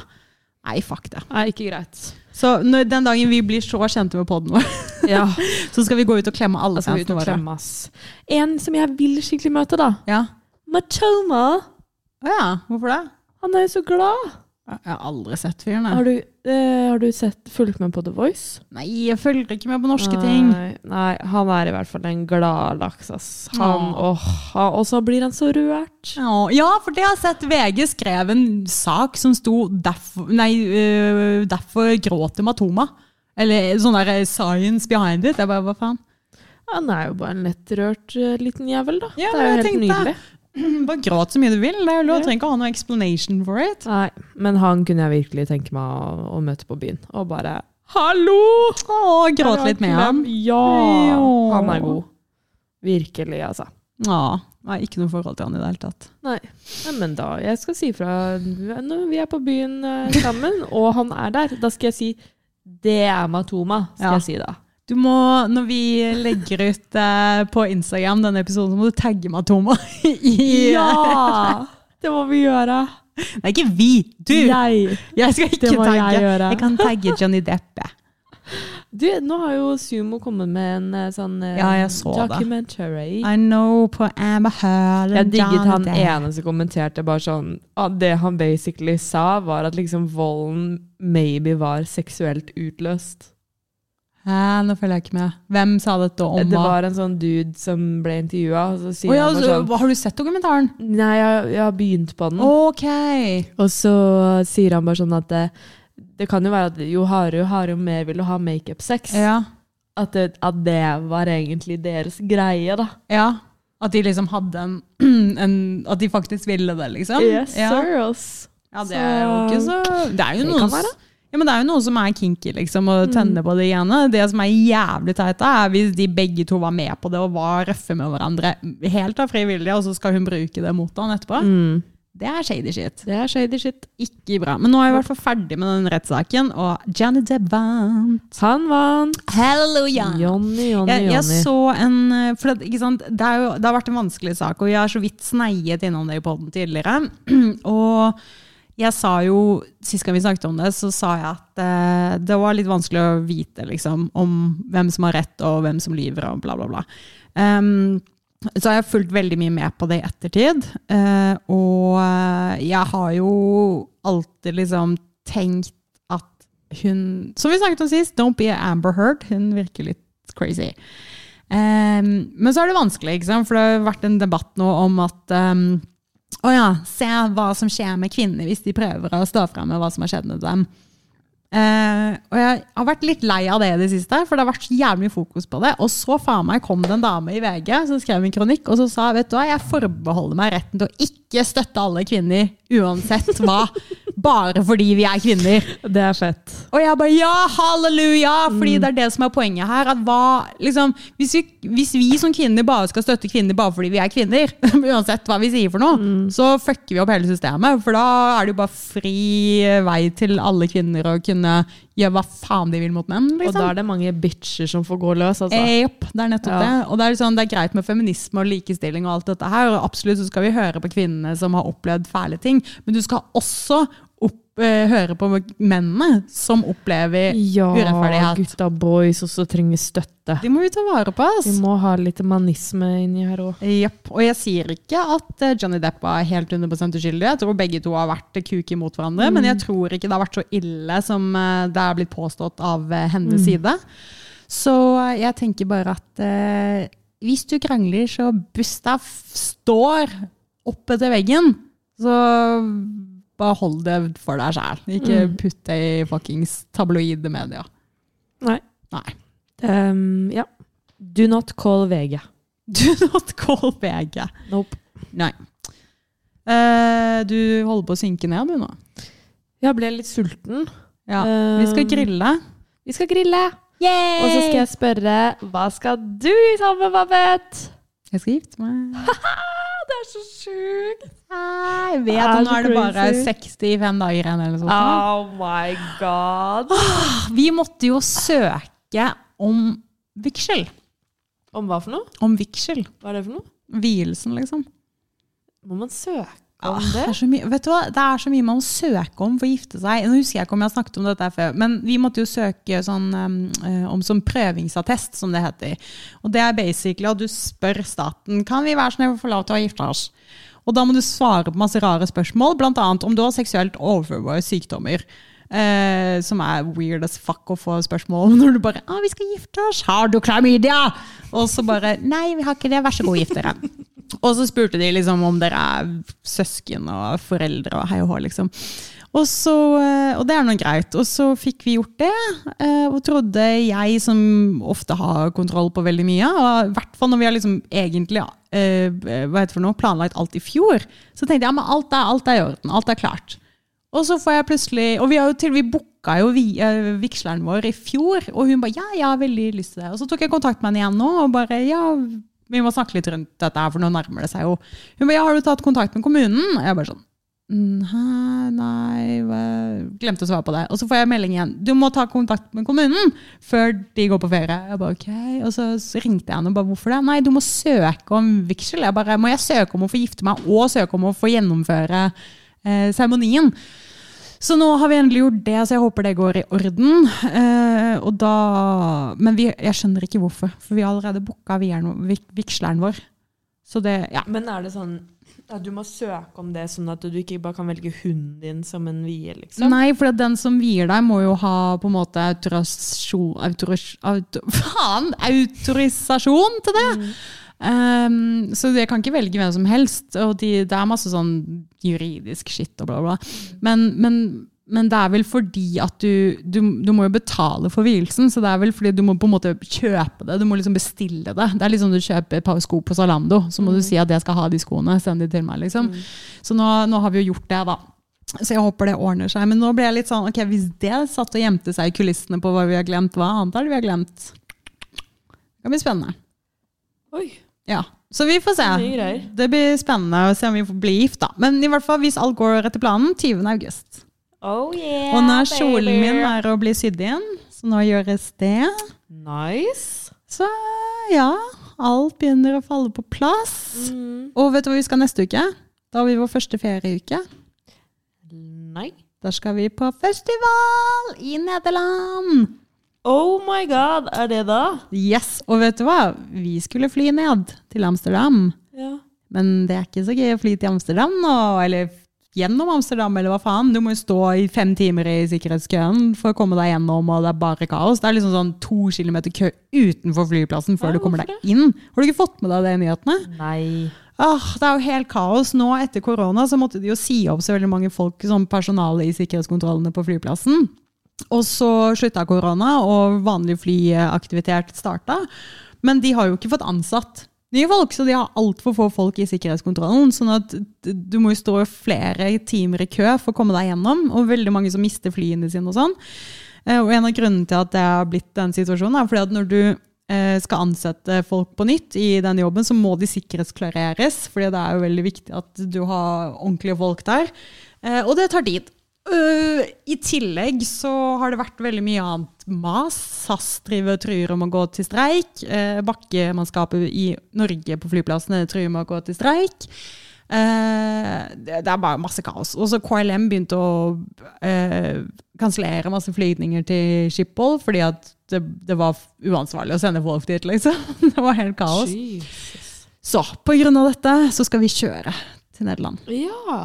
Speaker 1: Nei, fuck det.
Speaker 2: Nei, ikke greit.
Speaker 1: Så når, den dagen vi blir så kjente med podden vår, (laughs)
Speaker 2: Ja,
Speaker 1: så skal vi Altså, gå ut og klemme alle
Speaker 2: da skal vi ut
Speaker 1: fansene
Speaker 2: og
Speaker 1: våre.
Speaker 2: klemme, ass. En som jeg vil skikkelig møte, da.
Speaker 1: Ja.
Speaker 2: Machoma.
Speaker 1: Å ja, hvorfor det?
Speaker 2: Han er jo så glad.
Speaker 1: Jeg har aldri sett fyren.
Speaker 2: Har
Speaker 1: jeg.
Speaker 2: du, eh, har du sett, fulgt med på The Voice?
Speaker 1: Nei, jeg følger ikke med på norske ting.
Speaker 2: Nei, nei, han er i hvert fall en glad laks, ass. Han,
Speaker 1: Åh.
Speaker 2: åh, han- og så blir han så rørt.
Speaker 1: Å, Ja, for det har jeg sett. VG skrev en sak som sto derfor, nei, øh, 'Derfor gråter Matoma'. Eller sånn der eh, 'science behind it'. Jeg bare, hva faen? (clears throat)
Speaker 2: Han er jo bare en lettrørt eh, liten jævel, da.
Speaker 1: Ja,
Speaker 2: det
Speaker 1: men
Speaker 2: er jo helt
Speaker 1: jeg tenkte-
Speaker 2: nydelig.
Speaker 1: Bare gråt så mye du vil. Det er jo lov.
Speaker 2: Ja.
Speaker 1: Trenger ikke å ha noe explanation for it.
Speaker 2: Nei, men han kunne jeg virkelig tenke meg å, å møte på byen. Og bare Hallo!
Speaker 1: Å, gråt litt med ham.
Speaker 2: Ja!
Speaker 1: Jo.
Speaker 2: Han er god. Virkelig, altså.
Speaker 1: Ja. Nei, ikke noe forhold til han i det hele tatt.
Speaker 2: Nei. Nei, men da Jeg skal si fra når vi er på byen eh, sammen, (laughs) og han er der. Da skal jeg si 'det er Matoma', skal
Speaker 1: Ja.
Speaker 2: jeg si da.
Speaker 1: Du må, når vi legger ut eh, på Instagram denne episoden, så må du tagge meg, Toma. (laughs) I, (laughs)
Speaker 2: Ja! Det må vi gjøre.
Speaker 1: Nei, ikke vi! Du! Jeg,
Speaker 2: Jeg.
Speaker 1: skal ikke
Speaker 2: Det må
Speaker 1: tagge.
Speaker 2: jeg gjøre.
Speaker 1: kan tagge Johnny Depp. jeg.
Speaker 2: Du, nå har jo Sumo kommet med en eh, sånn eh,
Speaker 1: Ja, jeg så det.
Speaker 2: documentary.
Speaker 1: I know på Amber Hurl
Speaker 2: Jeg digget han
Speaker 1: Depp.
Speaker 2: ene som kommenterte bare sånn at Det han basically sa, var at liksom volden maybe var seksuelt utløst.
Speaker 1: Hæ, nå følger jeg ikke med. Hvem sa dette om
Speaker 2: Det
Speaker 1: hva?
Speaker 2: var en sånn dude som ble intervjua, og Mm. så sier
Speaker 1: Å ja,
Speaker 2: han bare
Speaker 1: så,
Speaker 2: sånn
Speaker 1: hva, har du sett dokumentaren?
Speaker 2: Nei, jeg, jeg har begynt på den.
Speaker 1: Ok.
Speaker 2: Og så sier han bare sånn at det, det kan jo være at jo hardere, jo hardere, jo mer vil du ha makeup-sex.
Speaker 1: Ja.
Speaker 2: At, det- at det var egentlig deres greie, da.
Speaker 1: ja. At de liksom hadde en, (clears throat) en At de faktisk ville det, liksom?
Speaker 2: Yes,
Speaker 1: ja.
Speaker 2: sirs.
Speaker 1: Ja, det er jo ikke så Det er jo
Speaker 2: Det
Speaker 1: noen,
Speaker 2: kan være. Mm.
Speaker 1: ja, men det er jo noen som er kinky, liksom, og tenner på det igjen. Det som er jævlig teit, da, er hvis de begge to var med på det og var røffe med hverandre helt av fri vilje, og så skal hun bruke det mot han etterpå.
Speaker 2: Mm.
Speaker 1: Det er shady shit.
Speaker 2: Det er shady shit.
Speaker 1: Ikke bra. Men nå er jeg i hvert fall ferdig med den rettssaken, og Janet Depp vant.
Speaker 2: Han vant.
Speaker 1: Halleluja!
Speaker 2: Johnny, Johnny,
Speaker 1: Jeg, jeg
Speaker 2: Johnny.
Speaker 1: så en eh, for at, ikke sant, det, er jo, det har vært en vanskelig sak, og jeg har så vidt sneiet innom det i poden tidligere. (clears throat) Og jeg sa jo, sist gang vi snakket om det, så sa jeg at eh, det var litt vanskelig å vite liksom, om hvem som har rett, og hvem som lyver, og bla, bla, bla. Ehm, så har jeg fulgt veldig mye med på det i ettertid. eh, og eh, jeg har jo alltid liksom tenkt at hun Som vi snakket om sist, don't be Amber Heard. Hun virker litt crazy. Ehm, men så er det vanskelig, ikke sant? for det har vært en debatt nå om at ehm, Å ja, se hva som skjer med kvinner hvis de prøver å stå frem med hva som har skjedd med dem. Eh, og jeg har vært litt lei av det i det siste, for det har vært så jævlig mye fokus på det. Og så faen meg kom det en dame i VG som skrev en kronikk og så sa vet du hva, jeg forbeholder meg retten til å ikke støtte alle kvinner uansett hva, bare fordi vi er kvinner.
Speaker 2: Det er fett.
Speaker 1: Og jeg bare ja, halleluja! Fordi
Speaker 2: Mm.
Speaker 1: det er det som er poenget her. At hva, liksom, hvis, vi, hvis vi som kvinner bare skal støtte kvinner bare fordi vi er kvinner, (laughs) uansett hva vi sier for noe,
Speaker 2: Mm.
Speaker 1: så fucker vi opp hele systemet. For da er det jo bare fri vei til alle kvinner å kunne gjøre hva faen de vil mot menn.
Speaker 2: Og da
Speaker 1: Liksom.
Speaker 2: er det mange bitcher som får gå løs, altså.
Speaker 1: Eh, jopp, det er nettopp
Speaker 2: Ja.
Speaker 1: det. Og det er, liksom, det er greit med feminisme og likestilling og alt dette her, og absolutt så skal vi høre på kvinnene som har opplevd fæle ting, men du skal også opp, eh, høre på mennene som opplever
Speaker 2: Ja,
Speaker 1: urettferdighet.
Speaker 2: gutta boys også trenger støtte.
Speaker 1: De må vi ta vare på,
Speaker 2: Vi
Speaker 1: ass.
Speaker 2: må ha litt manisme inni her òg.
Speaker 1: Jepp. Og jeg sier ikke at eh, Johnny Depp var helt 100 uskyldig. Jeg tror begge to har vært eh, kuke mot hverandre, men jeg tror ikke det har vært så ille som eh, det er blitt påstått av eh, hennes side. Så eh, jeg tenker bare at eh, hvis du krangler så busta f- står oppe til veggen, så bare hold det for deg sjæl. Ikke putt det i fuckings tabloide media.
Speaker 2: Nei.
Speaker 1: Nei. (laughs)
Speaker 2: Ehm, ja. Do not call VG.
Speaker 1: Do not call VG.
Speaker 2: Nope.
Speaker 1: Nei. Eh, du holder på å synke ned, du nå.
Speaker 2: Jeg ble litt sulten.
Speaker 1: Ja. Vi skal
Speaker 2: Ehm,
Speaker 1: grille.
Speaker 2: Vi skal grille. Og så skal jeg spørre hva skal du i sommer, Babette?
Speaker 1: Jeg skal gifte meg.
Speaker 2: Det er så sjukt!
Speaker 1: Ah, Jeg vet, Ah.
Speaker 2: Det er
Speaker 1: og nå
Speaker 2: så
Speaker 1: er det bare
Speaker 2: crazy.
Speaker 1: 65 dager igjen. Eller noe sånt.
Speaker 2: Oh my god.
Speaker 1: Vi måtte jo søke om vigsel.
Speaker 2: (gasps) Om hva for noe?
Speaker 1: Om vigsel.
Speaker 2: Hva er det for noe?
Speaker 1: Vielsen, liksom.
Speaker 2: Må man søke
Speaker 1: Ah,
Speaker 2: om
Speaker 1: Det
Speaker 2: det?
Speaker 1: er, så mye, vet du hva? det er så mye man må søke om for å gifte seg. Nå husker jeg ikke om jeg har snakket om dette her før, men vi måtte jo søke sånn, um, eh, om sånn prøvingsattest, som det heter. Og det er basically at du spør staten kan vi være snill å få lov til å gifte oss. Og da må du svare på masse rare spørsmål, bl.a. om du har seksuelt overførbare sykdommer. Eh, som er weird as fuck å få spørsmål om når du bare ah, 'Vi skal gifte oss. Har du klamydia?' Og så bare 'Nei, vi har ikke det. Vær så god, gift dere'. Og så spurte de liksom om dere er søsken og foreldre og hei og hå, liksom. Og, så, eh, og det er nå greit. Og så fikk vi gjort det, eh, og trodde jeg, som ofte har kontroll på veldig mye, og i hvert fall når vi har liksom egentlig eh, hva heter det for noe, planlagt alt i fjor, så tenkte jeg ja, men alt er, alt er i orden, alt er klart. Og så får jeg plutselig Og vi, har jo til, vi booka jo vi, eh, vigsleren vår i fjor, og hun bare ja, jeg har veldig lyst til det. Og så tok jeg kontakt med henne igjen nå og bare ja, vi må snakke litt rundt dette her, for nå nærmer det seg jo. Hun bare ja, har du tatt kontakt med kommunen? Og jeg bare sånn Nei, nei hva- Glemte å svare på det. Og så får jeg melding igjen. Du må ta kontakt med kommunen før de går på ferie. Jeg bare, ok. Og så ringte jeg henne og bare hvorfor det? Nei, du må søke om vigsel. Jeg bare, må jeg søke om å få gifte meg og søke om å få gjennomføre eh, seremonien? Så nå har vi endelig gjort det, så jeg håper det går i orden. Eh, og da, men vi, jeg skjønner ikke hvorfor, for vi har allerede booka vieren- vig- vigsleren vår. Så det, ja.
Speaker 2: (laughs) Men er det sånn at du må søke om det, sånn at du ikke bare kan velge hunden din som en vie, liksom?
Speaker 1: Nei, for at den som vier deg, må jo ha på en måte autorisasjon, autoris, auto, (laughs) faen, autorisasjon til det! Um, så jeg kan ikke velge hvem som helst. Og de, det er masse sånn juridisk shit og bla, bla. Men, men, men det er vel fordi at du, du Du må jo betale for vielsen, så det er vel fordi du må på en måte kjøpe det. Du må liksom bestille det. Det er litt sånn du kjøper et par sko på Zalando, så må du si at jeg skal ha de skoene. Send de til meg, liksom. Så nå, nå har vi jo gjort det, da. Så jeg håper det ordner seg. Men nå ble jeg litt sånn, ok, hvis det satt og gjemte seg i kulissene på hva vi har glemt, hva annet er det vi har glemt? Det kan bli spennende.
Speaker 2: Oi.
Speaker 1: Ja, så vi får se.
Speaker 2: Mye greier.
Speaker 1: Det blir spennende å se om vi får bli gift, da. Men i hvert fall, hvis alt går etter planen, 20. august.
Speaker 2: Oh yeah,
Speaker 1: Og nå er kjolen
Speaker 2: baby.
Speaker 1: min er å bli sydd inn, så nå gjøres det.
Speaker 2: Nice.
Speaker 1: Så ja, alt begynner å falle på plass.
Speaker 2: Mm.
Speaker 1: Og vet du hvor vi skal neste uke? Da har vi vår første ferieuke.
Speaker 2: Nei.
Speaker 1: Der skal vi på festival i Nederland.
Speaker 2: Oh my god, er det da?
Speaker 1: Yes, og vet du hva? Vi skulle fly ned til Amsterdam,
Speaker 2: Ja.
Speaker 1: men det er ikke så gøy å fly til Amsterdam nå, eller gjennom Amsterdam, eller hva faen. Du må jo stå i fem timer i sikkerhetskøen for å komme deg gjennom, og det er bare kaos. Det er liksom sånn to kilometer kø utenfor flyplassen før
Speaker 2: Ja,
Speaker 1: du kommer
Speaker 2: hvorfor
Speaker 1: deg inn. Har du ikke fått med deg det i nyhetene?
Speaker 2: Nei.
Speaker 1: Åh, det er jo helt kaos. Nå etter korona så måtte de jo si opp så veldig mange folk som personale i sikkerhetskontrollene på flyplassen. Og så slutta korona, og vanlig flyaktivitet starta. Men de har jo ikke fått ansatt nye folk, så de har altfor få folk i sikkerhetskontrollen. sånn at d- du må jo stå flere timer i kø for å komme deg gjennom, og veldig mange som mister flyene sine og sånn. Eh, Og en av grunnene til at det har blitt den situasjonen, er fordi at når du eh, skal ansette folk på nytt i den jobben, så må de sikkerhetsklareres. fordi det er jo veldig viktig at du har ordentlige folk der. Eh, Og det tar tid. Øh, I tillegg så har det vært veldig mye annet mas. SAS driver og truer om å gå til streik. Eh, Bakkemannskapet i Norge på flyplassene truer med å gå til streik. Eh, det, det er bare masse kaos. Og så KLM begynte å eh, kansellere masse flygninger til Schiphol fordi at det, det var uansvarlig å sende folk dit, liksom. (laughs) Det var helt kaos.
Speaker 2: Jesus.
Speaker 1: Så på grunn av dette så skal vi kjøre til Nederland.
Speaker 2: Ja.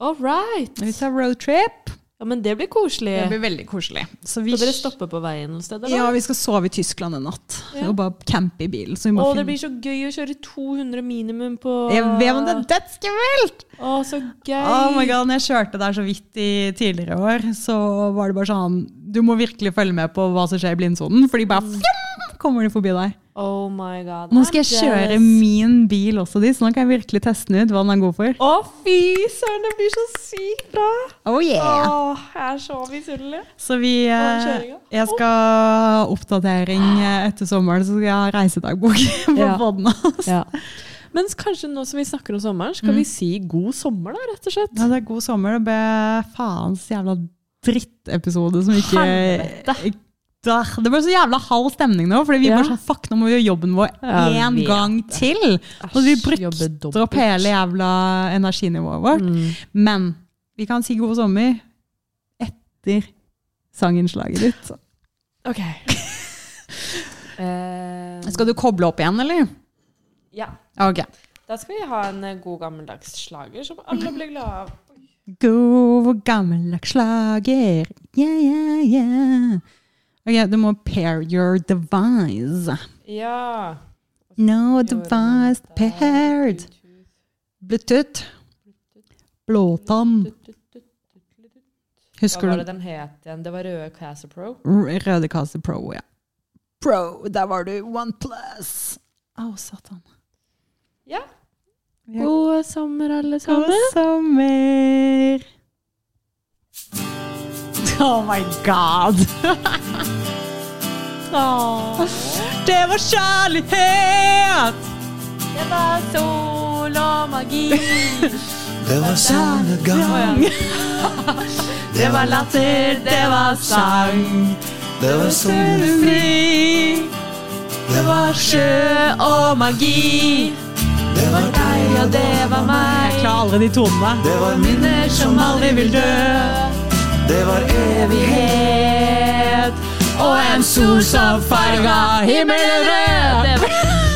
Speaker 2: All right.
Speaker 1: Vi tar roadtrip.
Speaker 2: Ja, men det blir koselig.
Speaker 1: Det blir veldig koselig. Så vi
Speaker 2: Skal dere stoppe på veien noe sted?
Speaker 1: Ja, vi skal sove i Tyskland en natt.
Speaker 2: Ja.
Speaker 1: Og bare campe i bilen. Så vi må
Speaker 2: Å, det
Speaker 1: finne
Speaker 2: blir så gøy å kjøre 200 minimum på
Speaker 1: Jeg vet om det er dødskult!
Speaker 2: Å, så gøy!
Speaker 1: Oh my god, når jeg kjørte der så vidt i tidligere år, så var det bare sånn Du må virkelig følge med på hva som skjer i blindsonen, for de bare
Speaker 2: Mm.
Speaker 1: fjom, kommer de forbi deg.
Speaker 2: Oh my god.
Speaker 1: Nå skal jeg
Speaker 2: I'm
Speaker 1: kjøre
Speaker 2: jealous.
Speaker 1: min bil også dit, så nå kan jeg virkelig teste den ut hva den er god for.
Speaker 2: Å, fy søren, det blir så sykt bra!
Speaker 1: Oh yeah!
Speaker 2: Åh, jeg er så misunnelig.
Speaker 1: Så vi eh,
Speaker 2: kjøringa.
Speaker 1: Jeg skal ha oppdatering eh, etter sommeren, så skal jeg ha reisedagbok (laughs) på
Speaker 2: Ja.
Speaker 1: båten hans.
Speaker 2: Ja. Men kanskje nå som vi snakker om sommeren, skal vi si god sommer, da, rett og slett?
Speaker 1: Mm. Ja, det er god sommer. Det ble faens jævla drittepisode som ikke
Speaker 2: Helvete.
Speaker 1: Da, det ble så jævla halv stemning nå, fordi vi
Speaker 2: Ja.
Speaker 1: var sånn Fuck, nå må vi gjøre jobben vår
Speaker 2: Ja, jeg
Speaker 1: én
Speaker 2: vet
Speaker 1: gang til! Og vi brukte opp hele jævla energinivået vårt.
Speaker 2: Mm.
Speaker 1: Men vi kan si god sommer etter sanginnslaget ditt.
Speaker 2: Ok. Eh,
Speaker 1: (laughs) Skal du koble opp igjen, eller?
Speaker 2: ja.
Speaker 1: Ok.
Speaker 2: Da skal vi ha en eh, god gammeldags slager som alle blir glade av.
Speaker 1: God gammeldags slager. Yeah, yeah, yeah. Ok, du må pair your device.
Speaker 2: Ja.
Speaker 1: No device paired. Bluetooth. Blåtann.
Speaker 2: Hva
Speaker 1: Husker
Speaker 2: var
Speaker 1: du
Speaker 2: det den het igjen? Det var røde Casa Pro.
Speaker 1: R- Røde Kase Pro, ja. Pro, der var du. One plus. Å, satan.
Speaker 2: Ja.
Speaker 1: Ja.
Speaker 2: God sommer, alle
Speaker 1: God sommer. Oh my god. Det var kjærlighet!
Speaker 2: Det var sol og magi.
Speaker 4: Det var solnedgang,
Speaker 1: Det var latter, det var sang.
Speaker 4: det var solfri,
Speaker 1: Fri.
Speaker 4: det var sjø,
Speaker 1: og magi.
Speaker 4: det var deg og det,
Speaker 1: var meg. Jeg klarer aldri de tonene.
Speaker 4: det var minner,
Speaker 1: Som aldri vil dø.
Speaker 4: det var
Speaker 1: evighet. Og en sol som farga himmelen rød. (laughs)
Speaker 2: Det var-